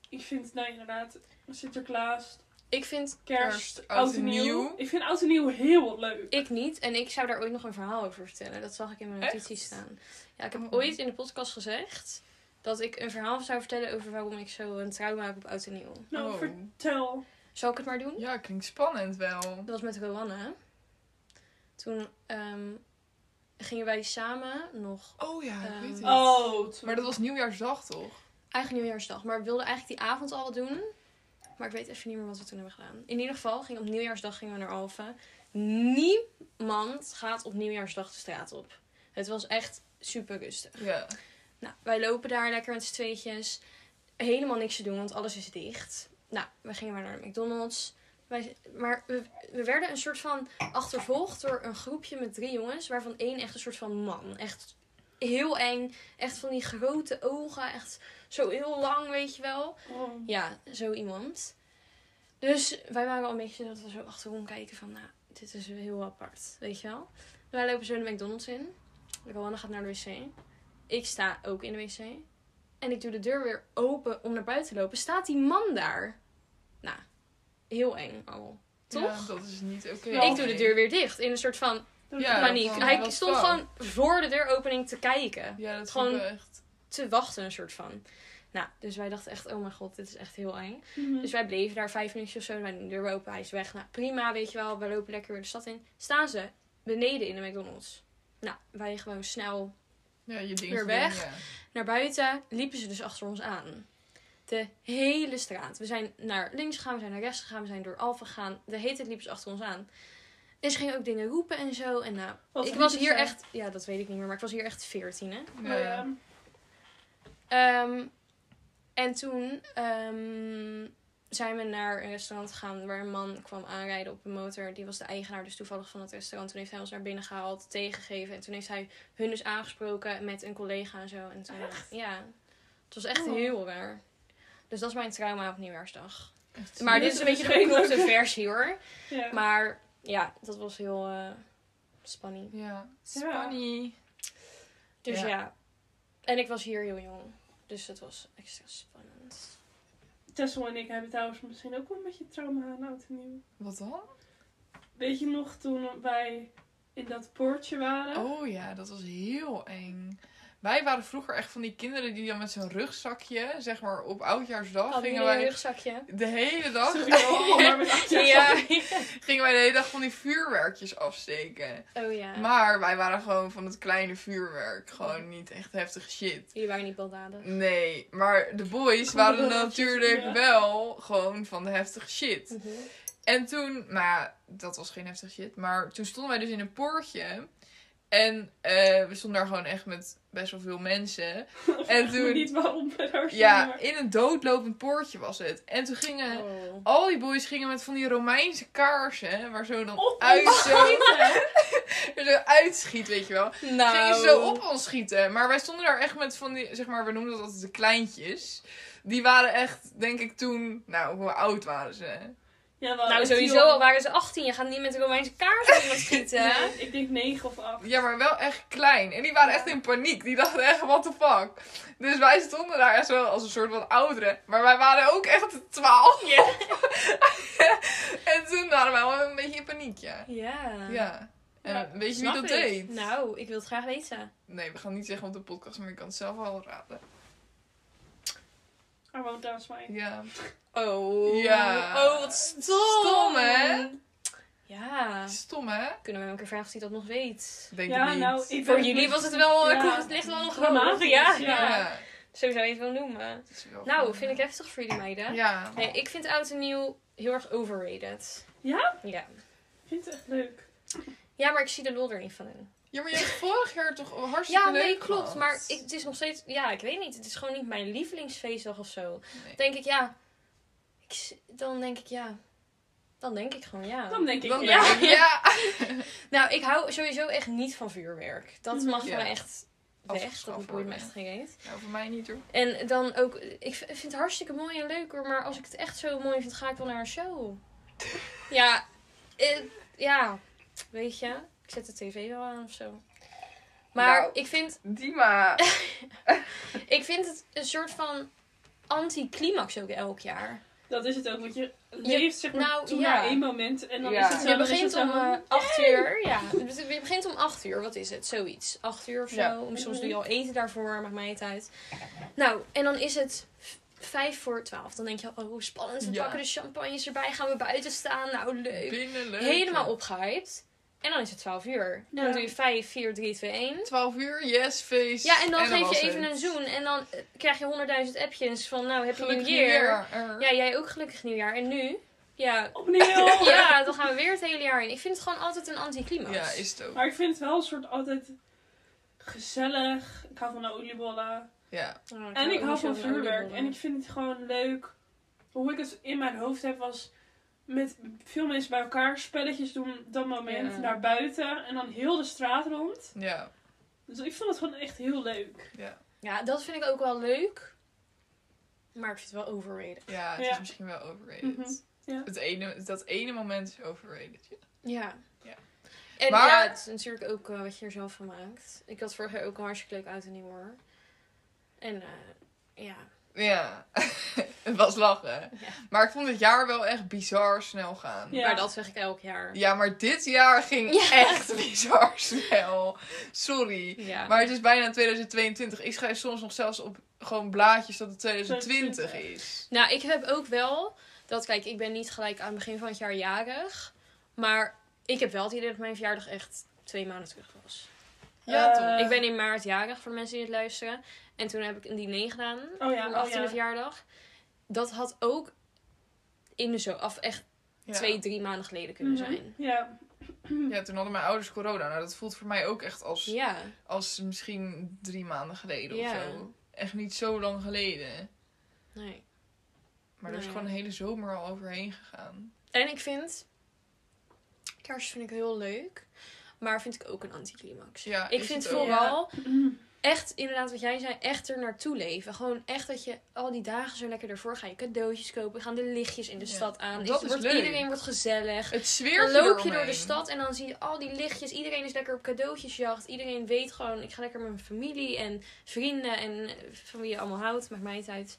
Ik vind nou inderdaad Sinterklaas,
Ik vind,
kerst,
Kerst,
oud en nieuw. Ik vind oud en nieuw heel leuk.
ik niet. En ik zou daar ooit nog een verhaal over vertellen. Dat zag ik in mijn
Echt?
notities staan. Ja, ik heb
Oh.
ooit in de podcast gezegd dat ik een verhaal zou vertellen over waarom ik zo een trauma heb op oud en nieuw.
Nou,
Oh.
vertel.
Zal ik het maar doen?
Ja, klinkt spannend wel.
Dat was met Rowanne. Toen ehm, gingen wij samen nog
Oh ja, ik
Ehm,
weet het.
Oh,
Maar dat was nieuwjaarsdag toch?
eigen nieuwjaarsdag. Maar we wilden eigenlijk die avond al wat doen. Maar ik weet even niet meer wat we toen hebben gedaan. In ieder geval, ging op nieuwjaarsdag gingen we naar Alphen. Niemand gaat op nieuwjaarsdag de straat op. Het was echt super rustig.
Ja.
Nou, wij lopen daar lekker met z'n tweetjes. Helemaal niks te doen, want alles is dicht. Nou, we gingen maar naar de McDonald's. Wij, maar we, we werden een soort van achtervolgd door een groepje met drie jongens. Waarvan één echt een soort van man. Echt heel eng. Echt van die grote ogen. Echt zo heel lang, weet je wel.
Oh.
Ja, zo iemand. Dus wij waren al een beetje dat we zo achterom kijken van... Nou, dit is heel apart, weet je wel. Wij lopen zo de McDonald's in. Rowanne gaat naar de wc. Ik sta ook in de wc. En ik doe de deur weer open om naar buiten te lopen. Staat die man daar? Nou, heel eng al.
Ja,
Toch?
dat is niet oké.
Ja.
Ik doe de deur weer dicht in een soort van
Ja,
paniek.
van,
Hij
wat
stond
fuck?
gewoon voor de deuropening te kijken.
Ja, dat
Gewoon-
gewoon... echt.
Te wachten, een soort van. Nou, dus wij dachten echt, oh mijn god, dit is echt heel eng. Dus
Dus
wij bleven daar vijf minuutjes of zo. Wij doen de deur open, hij is weg. Nou, prima, weet je wel. We lopen lekker weer de stad in. Staan ze beneden in de McDonald's. Nou, wij gewoon snel
Ja, je ding
Weer
doen,
weg.
ja.
Naar buiten liepen ze dus achter ons aan. De hele straat. We zijn naar links gegaan, we zijn naar rechts gegaan, we zijn door Alphen gegaan. De hele tijd liepen ze achter ons aan. En ze gingen ook dingen roepen en zo. En nou,
Wat
ik
riepen
was hier
ze?
echt, ja, dat weet ik niet meer, maar ik was hier echt veertien, hè.
maar,
Ja.
ehm,
Ehm, en toen ehm, zijn we naar een restaurant gegaan waar een man kwam aanrijden op een motor. Die was de eigenaar dus toevallig van het restaurant. Toen heeft hij ons naar binnen gehaald, tegengegeven. En toen heeft hij hun dus aangesproken met een collega en zo. En toen, Ja, het was echt
Oh.
heel raar. Dus dat is mijn trauma op Nieuwjaarsdag.
Echt.
Maar
Ja,
dit is een
dat
beetje
is
een korte
redelijk.
versie hoor.
ja.
Maar ja, dat was heel eh spannend.
Ja.
Ja.
Spanny.
Dus
Ja.
ja. En ik was hier heel jong. Dus het was extra spannend.
Tessel en ik hebben trouwens misschien ook wel een beetje trauma aan oud en nieuw.
Wat dan?
Weet je nog toen wij in dat poortje waren?
Oh ja, dat was heel eng. Wij waren vroeger echt van die kinderen die dan met zo'n rugzakje, zeg maar op oudjaarsdag,
Hadden
gingen
jullie een
wij
rugzakje?
de hele dag,
Sorry, oh, maar met acht jaar
Ja.
gingen wij de hele dag van die vuurwerkjes afsteken.
Oh ja.
Maar wij waren gewoon van het kleine vuurwerk, gewoon niet echt heftig shit.
Jullie waren niet baldadig.
Nee, maar de
Gewoon
boys
de
waren
balletjes,
natuurlijk
ja.
wel gewoon van de heftige shit. En toen, maar ja, dat was geen heftig shit. Maar toen stonden wij dus in een poortje. En eh, we stonden daar gewoon echt met best wel veel mensen. En
Ik weet
toen,
niet waarom we daar zijn,
ja,
maar-
in een doodlopend poortje was het. En toen gingen
Oh.
al die boys gingen met van die Romeinse kaarsen. Waar zo dan
Op
uit,
ons
zo,
schieten.
er zo uitschiet, weet je wel.
Nou.
Gingen ze zo op ons schieten. Maar wij stonden daar echt met van die, zeg maar, we noemden dat altijd de kleintjes. Die waren echt, denk ik toen, nou, hoe oud waren ze?
Ja, wel,
Nou,
echt
sowieso
heel-
al waren ze 18. Je gaat niet met een Romeinse kaart op iemand schieten.
Nee, ik denk 9 of 8.
Ja, maar wel echt klein. En die waren echt in paniek. Die dachten echt, what the fuck. Dus wij stonden daar echt wel als een soort van ouderen. Maar wij waren ook echt twaalf. en toen waren wij wel een beetje in paniek, ja.
Eh, Ja.
Ja. En
Ja,
weet je wie
Snap
dat
ik.
deed?
Nou, ik wil het graag weten.
Nee, we gaan niet zeggen op de podcast, maar je kan het zelf wel raden.
I won't dance my.
Ja.
Oh.
Ja.
Oh, wat stom.
Stom, hè?
Ja.
Stom, hè?
Kunnen we hem ook een vraag of hij dat nog weet?
Denk
Ja,
ik niet.
nou, ik
Voor
ben-
jullie was het wel, eh,
Ja.
ja. het ligt wel nog hoog.
Dramatisch,
Ja,
ja.
ja.
Ja.
Zo zou je het wel noemen.
dat is wel
Nou,
goed.
vind ik heftig voor jullie meiden.
Ja.
Nee, Eh, ik vind oud en nieuw heel erg overrated.
Ja?
Ja.
Ik vind het echt leuk.
Ja, maar ik zie de lol er niet van in.
Ja, maar je hebt vorig jaar toch hartstikke
Ja,
leuk
nee, klopt.
gehad?
Maar ik, het is nog steeds... Ja, ik weet niet. Het is gewoon niet mijn lievelingsfeestdag of zo.
Nee.
denk ik, ja... Ik, s- dan denk ik, ja... Dan denk ik gewoon, ja.
Dan denk ik,
Dan
ja.
denk ik, ja.
Nou, ik hou sowieso echt niet van vuurwerk. Dat mag
Mhm. Ja.
voor mij echt weg.
Afgeschaft
Dat boeit me
worden.
echt geen reet.
Nou, voor mij niet hoor.
En dan ook... Ik v- vind het hartstikke mooi en leuk, hoor. Maar als ik het echt zo mooi vind, ga ik wel naar een show. ja. eh, ja. Weet je. Ik zet de tv wel aan of zo. Maar
Nou.
ik vind...
Dima.
Ik vind het een soort van anticlimax ook elk jaar.
Dat is het ook, want je leeft zeg maar
nou,
toe
ja.
naar één moment en dan
Ja.
is het zo.
Dus Je
dan is
begint
het
om
zo-
eh, acht uur. Ja, dus je begint om acht uur. Wat is het? Zoiets. Acht uur of zo.
Ja.
Om- Soms doe je al eten daarvoor. Maakt mij het uit. Nou, en dan is het v- vijf voor twaalf. Dan denk je, oh hoe spannend. We
Ja.
pakken de champagnes erbij. Gaan we buiten staan. Nou, leuk.
Binnen leuk.
Helemaal opgehyped. En dan is het twaalf uur. En
Ja.
dan doe je vijf, vier, drie, twee, één.
12 uur, yes, feest.
Ja, en dan geef
was
je even
het.
een zoen. En dan eh, krijg je honderdduizend appjes van, nou, heb je een
Gelukkig
year.
nieuwjaar.
Ja, jij ook gelukkig nieuwjaar. En nu? Ja.
Opnieuw!
ja, dan gaan we weer het hele jaar in. Ik vind het gewoon altijd een anticlimax.
Ja, is het ook.
Maar ik vind het wel een soort altijd gezellig. Ik hou van de oliebollen.
Ja.
Oh,
En ik
ook
hou
niet
van
zoveel
vuurwerk.
oliebollen.
En ik vind het gewoon leuk. Hoe ik het in mijn hoofd heb was met veel mensen bij elkaar spelletjes doen dat moment
Ja.
naar buiten en dan heel de straat rond.
Ja.
Dus ik vond het gewoon echt heel leuk.
Ja.
Ja, dat vind ik ook wel leuk. Maar ik vind het wel overrated.
Ja, het is
Ja.
misschien wel overrated.
Mhm, ja.
het ene, dat ene moment is overrated. ja.
Ja.
Ja.
En
Maar-
ja, het is natuurlijk ook eh, wat je er zelf van maakt. Ik had vorig jaar ook een hartstikke leuk oud en nieuw hoor. En eh, ja.
Ja. Het was lachen.
Ja.
Maar ik vond dit jaar wel echt bizar snel gaan.
Ja.
Maar dat zeg ik elk jaar.
Ja, maar dit jaar ging
Ja.
echt bizar snel. Sorry.
Ja.
Maar het is bijna 2022. Ik schrijf soms nog zelfs op gewoon blaadjes dat het 2020 is.
Nou, ik heb ook wel dat, kijk, ik ben niet gelijk aan het begin van het jaar jarig. Maar ik heb wel het idee dat mijn verjaardag echt twee maanden terug was.
Ja,
Eh,
toch?
ik ben in maart jarig, voor de mensen die het luisteren. En toen heb ik een diner gedaan.
Oh ja,
voor mijn
oh
18e
ja.
verjaardag. Dat had ook in de zo af echt
Ja.
twee, drie maanden geleden kunnen
Mhm.
zijn.
Ja.
Ja, toen hadden mijn ouders corona. Nou, dat voelt voor mij ook echt als,
Ja.
als misschien drie maanden geleden
Ja.
of zo. Echt niet zo lang geleden.
Nee.
Maar er is
Nee.
gewoon een hele zomer al overheen gegaan.
En ik vind. Kerst vind ik heel leuk. Maar vind ik ook een anticlimax.
Ja,
ik
is
vind
het ook.
vooral echt, inderdaad, wat jij zei, echt er naartoe leven. Gewoon echt dat je al die dagen zo lekker ervoor ga je cadeautjes kopen. Gaan de lichtjes in de
Ja.
stad aan.
Dat
Het
is
wordt,
leuk.
Iedereen wordt gezellig.
Het
Dan
zweert
loop je door de stad en dan zie je al die lichtjes. Iedereen is lekker op cadeautjesjacht. Iedereen weet gewoon, ik ga lekker met mijn familie en vrienden en eh, van wie je allemaal houdt. Maakt mij het uit.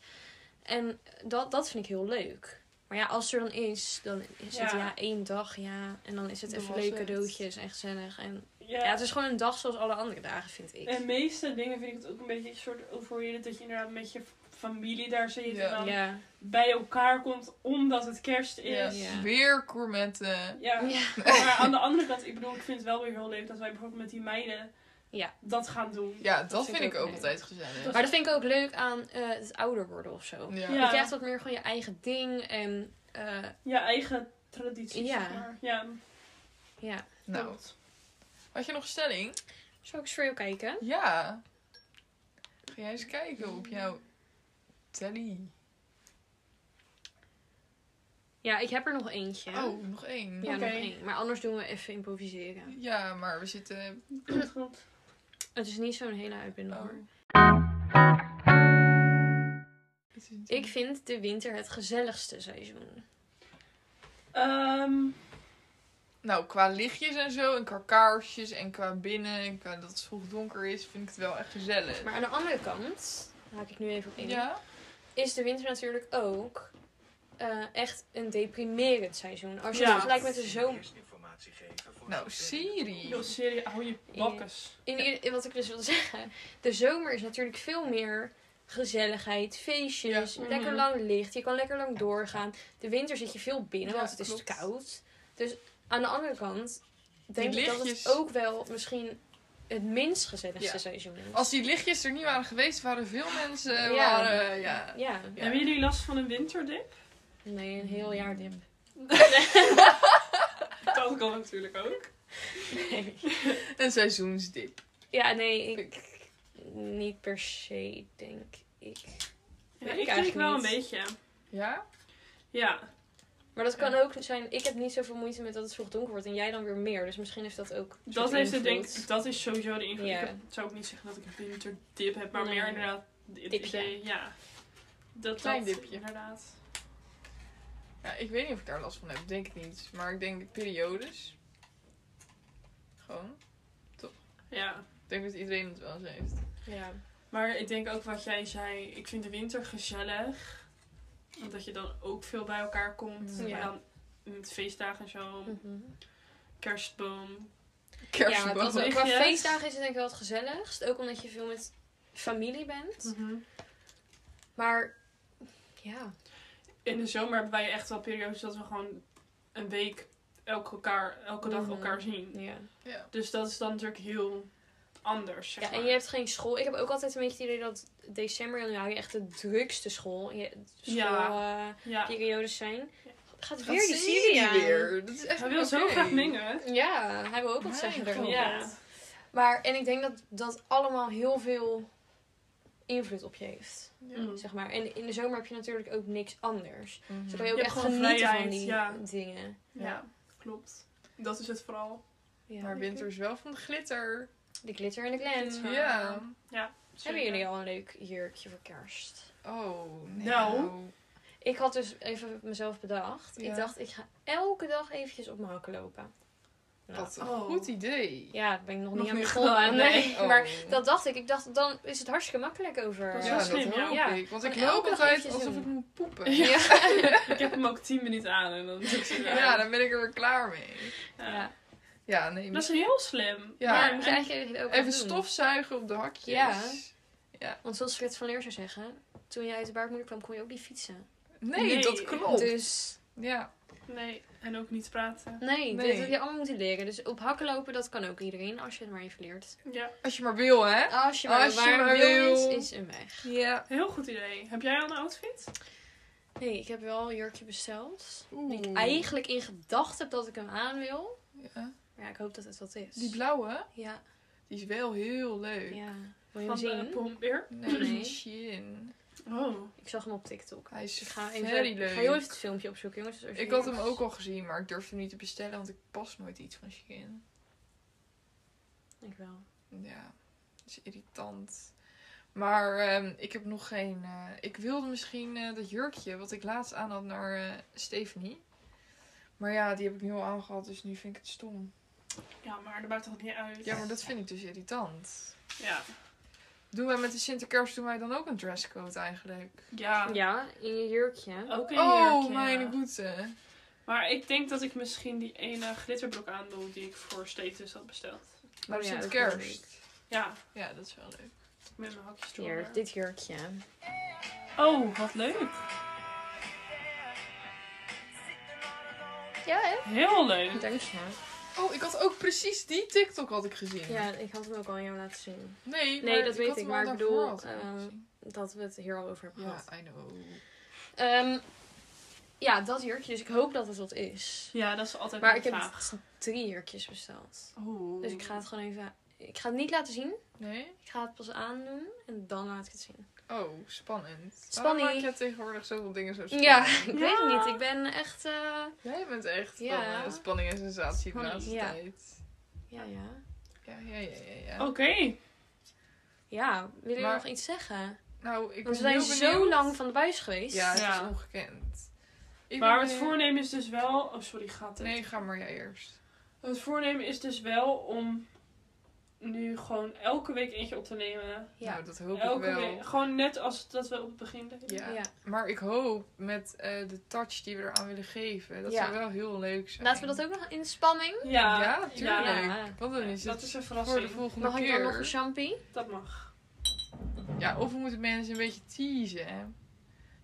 En dat, dat vind ik heel leuk. Maar ja, als er dan is, dan is het
Ja.
ja één dag, ja. En dan is het
Dan
even
was
leuke
het.
cadeautjes en gezellig. En,
Ja.
ja. het is gewoon een dag zoals alle andere dagen, vind ik.
En meeste dingen vind ik het ook een beetje een soort overheden dat je inderdaad met je familie daar zit
Ja.
en dan
ja.
bij elkaar komt omdat het kerst
Ja,
is.
Ja.
weer gourmetten.
Ja.
Ja.
Oh, Maar aan de andere kant, ik bedoel, ik vind het wel weer heel leuk dat wij bijvoorbeeld met die meiden
Ja.
dat gaan doen.
Ja, dat,
vind
vind,
ik
ik ook
ook
altijd gezellig.
Dat-
Maar dat vind ik ook leuk aan eh, het ouder worden of zo.
Ja.
Ja.
Je krijgt wat meer gewoon je eigen ding en eh,
Je eigen traditie,
Ja.
zeg maar. Ja,
ja.
Nou,
klopt.
had je nog een stelling?
Zal ik eens voor jou kijken?
Ja. Ga jij eens kijken op jouw telly.
Ja, ik heb er nog eentje.
Oh, nog één.
Ja,
Oké.
nog één. Maar anders doen we even improviseren.
Ja, maar we zitten...
Klopt, klopt.
Het is niet zo'n hele uitbinding
Oh.
hoor.
Het is niet-
Ik vind de winter het gezelligste seizoen.
Ehm,
Nou, qua lichtjes en zo, en qua kaarsjes, en qua binnen, en qua dat het vroeg donker is, vind ik het wel echt gezellig.
Maar aan de andere kant, haak ik nu even op in,
Ja?
is de winter natuurlijk ook eh, echt een deprimerend seizoen. Als je
Ja.
het vergelijkt met de zomer.
Nou, Siri.
joh, serie, hou je bakkes.
In ieder- wat ik dus wil zeggen, de zomer is natuurlijk veel meer gezelligheid, feestjes,
Ja.
lekker
Mhm.
lang licht. Je kan lekker lang doorgaan. De winter zit je veel binnen,
Ja,
want het is
klopt.
koud. Dus aan de andere kant denk
Die
ik dat het
lichtjes.
ook wel misschien het minst gezelligste
Ja.
seizoen is.
Als die lichtjes er niet waren geweest, waren veel mensen...
Ja.
Waren, ja.
Ja,
Ja.
Hebben jullie last van een winterdip?
nee, een
Hmm.
heel jaar dip.
Dat kan natuurlijk ook.
Nee.
Een seizoensdip.
Ja, nee, ik niet per se, denk ik.
Ja,
Weet ik
ik denk
eigenlijk
wel een
niet.
beetje.
Ja?
Ja,
Maar dat kan ook zijn, ik heb niet zoveel moeite met dat het vroeg donker wordt en jij dan weer meer. Dus misschien heeft dat ook. een
dat
soort
heeft het denk
invloed.
ik, dat is sowieso de invloed.
Ja.
Ik heb- zou ook niet zeggen dat ik een winterdip heb, maar
Nee.
meer inderdaad het
Dipje.
idee, ja. Dat,
Klein
dat,
dipje.
Inderdaad.
Ja, ik weet niet of ik daar last van heb. Denk ik niet. Maar ik denk periodes. Gewoon.
Ja.
Ik denk dat iedereen het wel eens heeft.
Ja.
Maar ik denk ook wat jij zei, ik vind de winter gezellig. Omdat je dan ook veel bij elkaar komt.
Mm. Ja.
Maar dan met feestdagen en zo,
Mhm.
kerstboom.
Ja,
Kerstboom.
dat ook. Qua
Lichtjes.
feestdagen is het denk ik wel het gezelligst. Ook omdat je veel met familie
Hm.
bent. Maar ja.
In de zomer hebben wij echt wel periodes dat we gewoon een week elk elkaar, elke dag
Mhm.
elkaar zien.
ja.
ja.
Dus dat is dan natuurlijk heel anders. Zeg
ja en
maar.
je hebt geen school. Ik heb ook altijd een beetje het idee dat december en januari echt de drukste school,
Ja.
schoolperiodes
ja.
zijn. Gaat
Wat
weer die
zie
serie
je
aan.
weer? Dat is echt
Hij wil zo
oké.
graag mengen.
Ja, hij wil ook wat
Mijn
zeggen.
god.
erover.
Ja.
Maar, en ik denk dat dat allemaal heel veel invloed op je heeft.
Ja.
Mm.
Zeg maar. En in de zomer heb je natuurlijk ook niks anders.
Mhm.
Zodat je ook
Je hebt
echt
gewoon
genieten van
vrijheid,
die
ja.
dingen.
Ja, klopt. Dat is het vooral.
Ja.
Maar winter is wel van de glitter.
De glitter en de glans.
Glitter. Ja.
Ja.
Hebben jullie al een leuk jurkje voor kerst?
Oh, nee.
Nou.
Ik had dus even mezelf bedacht.
Ja.
Ik dacht, ik ga elke dag eventjes op mijn hakken lopen. Nou.
Wat een
Oh.
goed idee.
Ja, daar ben ik nog,
Nog
niet aan
niet
begonnen.
gedaan,
Nee.
nee. Oh.
Maar dat dacht ik. Ik dacht, dan is het hartstikke makkelijk over. eh,
Dat is
Ja,
wel
dat
slim, ja.
hoop
Ja.
ik. Want ik
Gewoon elke
loop
dag
altijd
eventjes
alsof
doen.
ik moet poepen.
Ja.
Ja.
Ik heb hem ook 10 minuten aan en dan doe ik ze weer aan.
dan ben ik er weer klaar mee.
Ja.
Ja.
Ja, nee.
Dat is heel slim.
Ja.
Ja,
Maar-
dat moet je eigenlijk ook
Even
wel doen.
stofzuigen op de hakjes.
Ja. Want zoals Frits van Leer zou zeggen, toen je uit de baarmoeder kwam, kon je ook niet fietsen.
Nee,
Nee.
dat klopt.
Dus
Ja.
Nee, en ook niet praten.
nee,
Nee.
dat heb je allemaal moeten leren. Dus op hakken lopen, dat kan ook iedereen, als je het maar even leert.
Ja,
Als je maar wil, hè?
Als je maar,
Als je
waar
maar
wil
wil.
is, is een weg.
Ja.
heel goed idee. Heb jij al een outfit?
Nee, ik heb wel een jurkje besteld. Die ik
Oeh.
eigenlijk in gedachten heb dat ik hem aan wil.
Ja.
Maar ja, ik hoop dat het wat is.
Die blauwe,
Ja,
die is wel heel leuk.
ja. Wil je hem
Van de
zien?
Pombeer.
Nee,
Nee.
Shin.
Oh.
Ik zag hem op TikTok.
Hij is
Ik ga, even,
very
ik
leuk.
ga heel even het filmpje opzoeken, jongens. Dus als
Ik
jullie-
had hem ook al gezien, maar ik durfde hem niet te bestellen, want ik pas nooit iets van Shein.
Ik wel.
Ja, dat is irritant. Maar ehm, ik heb nog geen... eh, ik wilde misschien eh, dat jurkje wat ik laatst aan had naar eh, Stephanie. Maar ja, die heb ik nu al aangehad, dus nu vind ik het stom.
Ja, maar dat maakt toch niet uit?
Ja, maar dat vind ik dus irritant.
Ja.
Doen wij met de Sinterkerst doen wij dan ook een dresscode eigenlijk?
Ja.
Ja, in je jurkje.
Ook een
oh,
jurkje,
mijn
ja.
goede.
Maar ik denk dat ik misschien die ene glitterbroek aandoe die ik voor Status had besteld.
Maar
Oh ja, dat wil ik.
Sinterkerst.
Ja,
Ja, dat is wel leuk.
met mijn hakjes
Hier,
door.
dit jurkje.
Oh, wat leuk.
Ja, hè?
Heel leuk.
Dank je.
Oh, ik had ook precies die TikTok had ik gezien.
Ja, ik had hem ook al aan jou laten zien.
Nee,
Nee,
maar
dat weet
had
ik,
hem
maar
al
ik
daarvoor
bedoel,
had ik
eh,
gezien.
Dat we het hier al over hebben gehad.
Ja, I know.
Ja, Ehm, ja dat jurkje. Dus ik hoop dat het wat is.
Ja, dat is altijd
Maar
een
ik heb
vraag.
drie jurkjes besteld.
Oeh.
Dus ik ga het gewoon even... Ik ga het niet laten zien.
Nee?
Ik ga het pas aandoen. En dan laat ik het zien.
Oh, spannend. Waarom
Spanning.
maak je tegenwoordig zoveel dingen zo spannend?
Ja, ik weet
Ja.
het niet. Ik ben echt... eh,
Jij bent echt
Ja.
spannend. spanning en sensatie de
Spanning,
laatste
ja. Oh.
tijd.
Ja, ja.
Ja, ja, ja, ja. ja.
Oké.
Ja, wil je
Maar-
nog iets zeggen?
Nou, ik ben
Want we zijn
heel
zo
benieuwd.
lang van de buis geweest.
Ja, het
Ja.
is ongekend. Ik
Maar
ben
het
benieuwd.
voornemen is dus wel... Oh, sorry, gaat het?
Nee, ga maar jij eerst.
Het voornemen is dus wel om nu gewoon elke week eentje op te nemen.
Ja.
Nou, dat hoop ik
elke
wel.
week. Gewoon net als dat we op het begin deden.
Ja.
Ja.
Maar ik hoop met eh, de touch die we eraan willen geven, dat
Ja.
zou wel heel leuk zijn.
Laten we dat ook nog in de spanning.
Ja,
Ja, tuurlijk.
Ja.
Want dan is
Dat
het
is een
voor de
verrassing.
volgende
Mag ik dan nog een
keer.
champie?
Dat mag.
Ja, of we moeten mensen een beetje teasen. hè.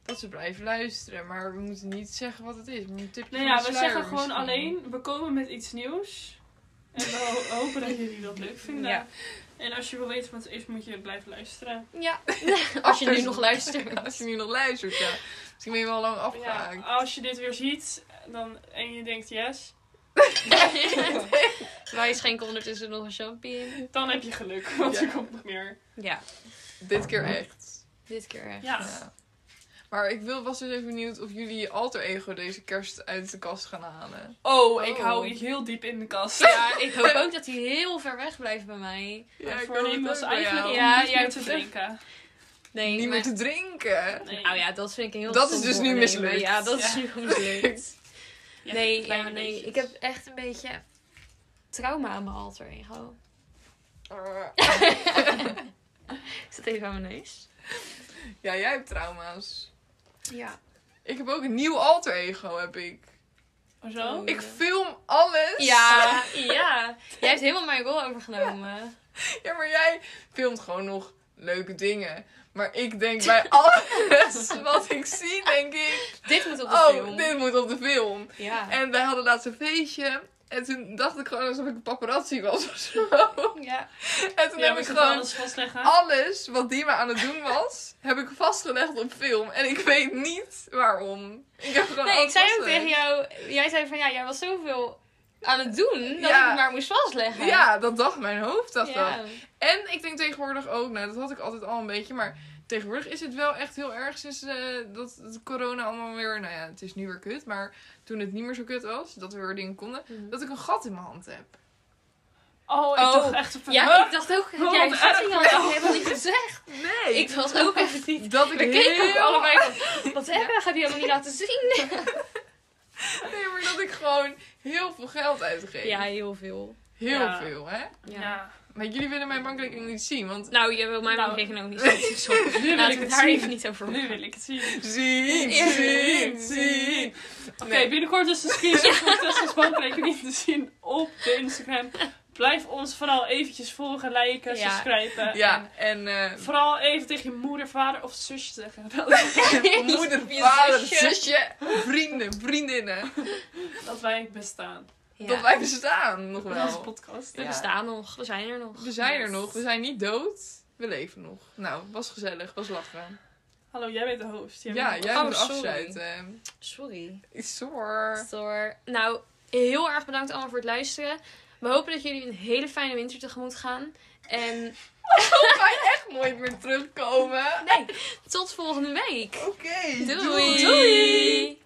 Dat ze blijven luisteren, maar we moeten niet zeggen wat het is. Maar een tipje
Nou
van
ja,
de
we
sluier
zeggen gewoon
misschien.
alleen, we komen met iets nieuws. En we ho- hopen dat jullie dat leuk vinden.
Ja.
En als je wil weten wat het is, moet je blijven luisteren.
Ja. Als je nu nog luistert.
Als je nu nog luistert, ja. Misschien ben je wel lang
Ja,
afgehaakt.
als je dit weer ziet dan, en je denkt yes,
Wij schenken ondertussen nog een champie in.
dan heb je geluk. Want
Ja.
er komt nog meer.
Ja,
Dit keer echt.
dit keer echt.
Ja.
Ja. Maar ik wil, was dus even benieuwd of jullie je alter ego deze kerst uit de kast gaan halen.
Oh,
ik hou iets
heel diep in de kast.
Ja, ik hoop ook dat hij heel ver weg blijft bij mij.
Mijn
ik
voornemen
hoop
was
het ook bij
eigenlijk om
jou.
Ja,
niet
jij
meer te
hebt het
drinken.
Nee,
Niet
maar-
meer te drinken.
Nee.
Nou ja, dat vind ik een heel
Dat is
stom
dus nu
voornemen.
mislukt.
Ja, dat is
Ja.
nu mislukt.
Ja,
Nee, ja,
kleine
nee.
beetjes.
Ik heb echt een beetje trauma aan mijn alter ego. Ik zit even aan mijn neus.
Ja, jij hebt trauma's.
Ja.
Ik heb ook een nieuw alter ego, heb ik.
Zo?
Ik film alles.
Ja, ja. Jij hebt helemaal mijn rol overgenomen.
Ja, maar jij filmt gewoon nog leuke dingen. Maar ik denk bij alles wat ik zie, denk ik...
Dit moet Oh. op de
Oh,
film.
dit moet op de film.
Ja.
En wij hadden laatst een feestje. En toen dacht ik gewoon alsof ik een paparazzi was of zo.
ja.
En toen
Ja,
heb
moet
ik
je
gewoon
alles vastleggen.
alles wat die me aan het doen was, heb ik vastgelegd op film. En ik weet niet waarom. Ik heb gewoon
Nee, ik
alles
zei ook
vastgelegd.
tegen jou... Jij zei van, ja, jij was zoveel aan het doen dat
Ja.
ik het maar moest vastleggen.
Ja, dat dacht mijn hoofd, dacht dat.
Ja.
En ik denk tegenwoordig ook, nou dat had ik altijd al een beetje, maar tegenwoordig is het wel echt heel erg sinds eh, dat het corona allemaal weer, nou ja, het is nu weer kut, maar toen het niet meer zo kut was, dat we weer dingen konden,
Mhm.
dat ik een gat in mijn hand heb.
Oh, ik
Oh.
dacht echt van...
Ja, ik dacht ook,
Wat
jij
erg.
had het al helemaal niet gezegd.
Nee!
Ik was ook even niet...
dat ik
We keken ook
heel-
allebei van, wat erg, heb je helemaal niet laten zien.
Nee, maar dat ik gewoon heel veel geld uitgeef.
Ja, heel veel.
Heel
Ja.
veel, hè?
Ja.
Maar jullie willen mijn bankrekening niet zien, want...
Nou, je wil mijn
Nou.
bankrekening ook niet zien. Sorry.
Nu wil
Laten
ik
we het Oh,
het
daar even
zien.
niet over
Nu
hebben.
wil ik het zien.
Zien,
Ja.
zien, zien.
Oké,
Nee.
binnenkort is de screenshot van Tessa's bankrekening te zien op de Instagram. Blijf ons vooral eventjes volgen, liken,
Ja.
subscriben. En
Ja, en... eh,
Vooral even tegen je moeder, vader of zusje zeggen.
moeder,
Je
vader,
zusje.
zusje, vrienden, vriendinnen.
Dat wij bestaan.
Ja.
Dat wij bestaan nog
Met onze
wel.
podcast.
We
Ja.
staan nog. We zijn er nog.
We zijn er
Yes.
nog, we zijn niet dood. We leven nog. Nou, was gezellig, was lachen.
Hallo, jij bent de host. Jij
Ja,
bent-
jij
Oh,
moet
sorry.
afsluiten.
Sorry.
Sorry.
Door. Nou, heel erg bedankt allemaal voor het luisteren. We hopen dat jullie een hele fijne winter tegemoet gaan. En
Ik ga echt nooit meer terugkomen.
nee, tot volgende week.
Oké,
Doei.
doei.
Doei.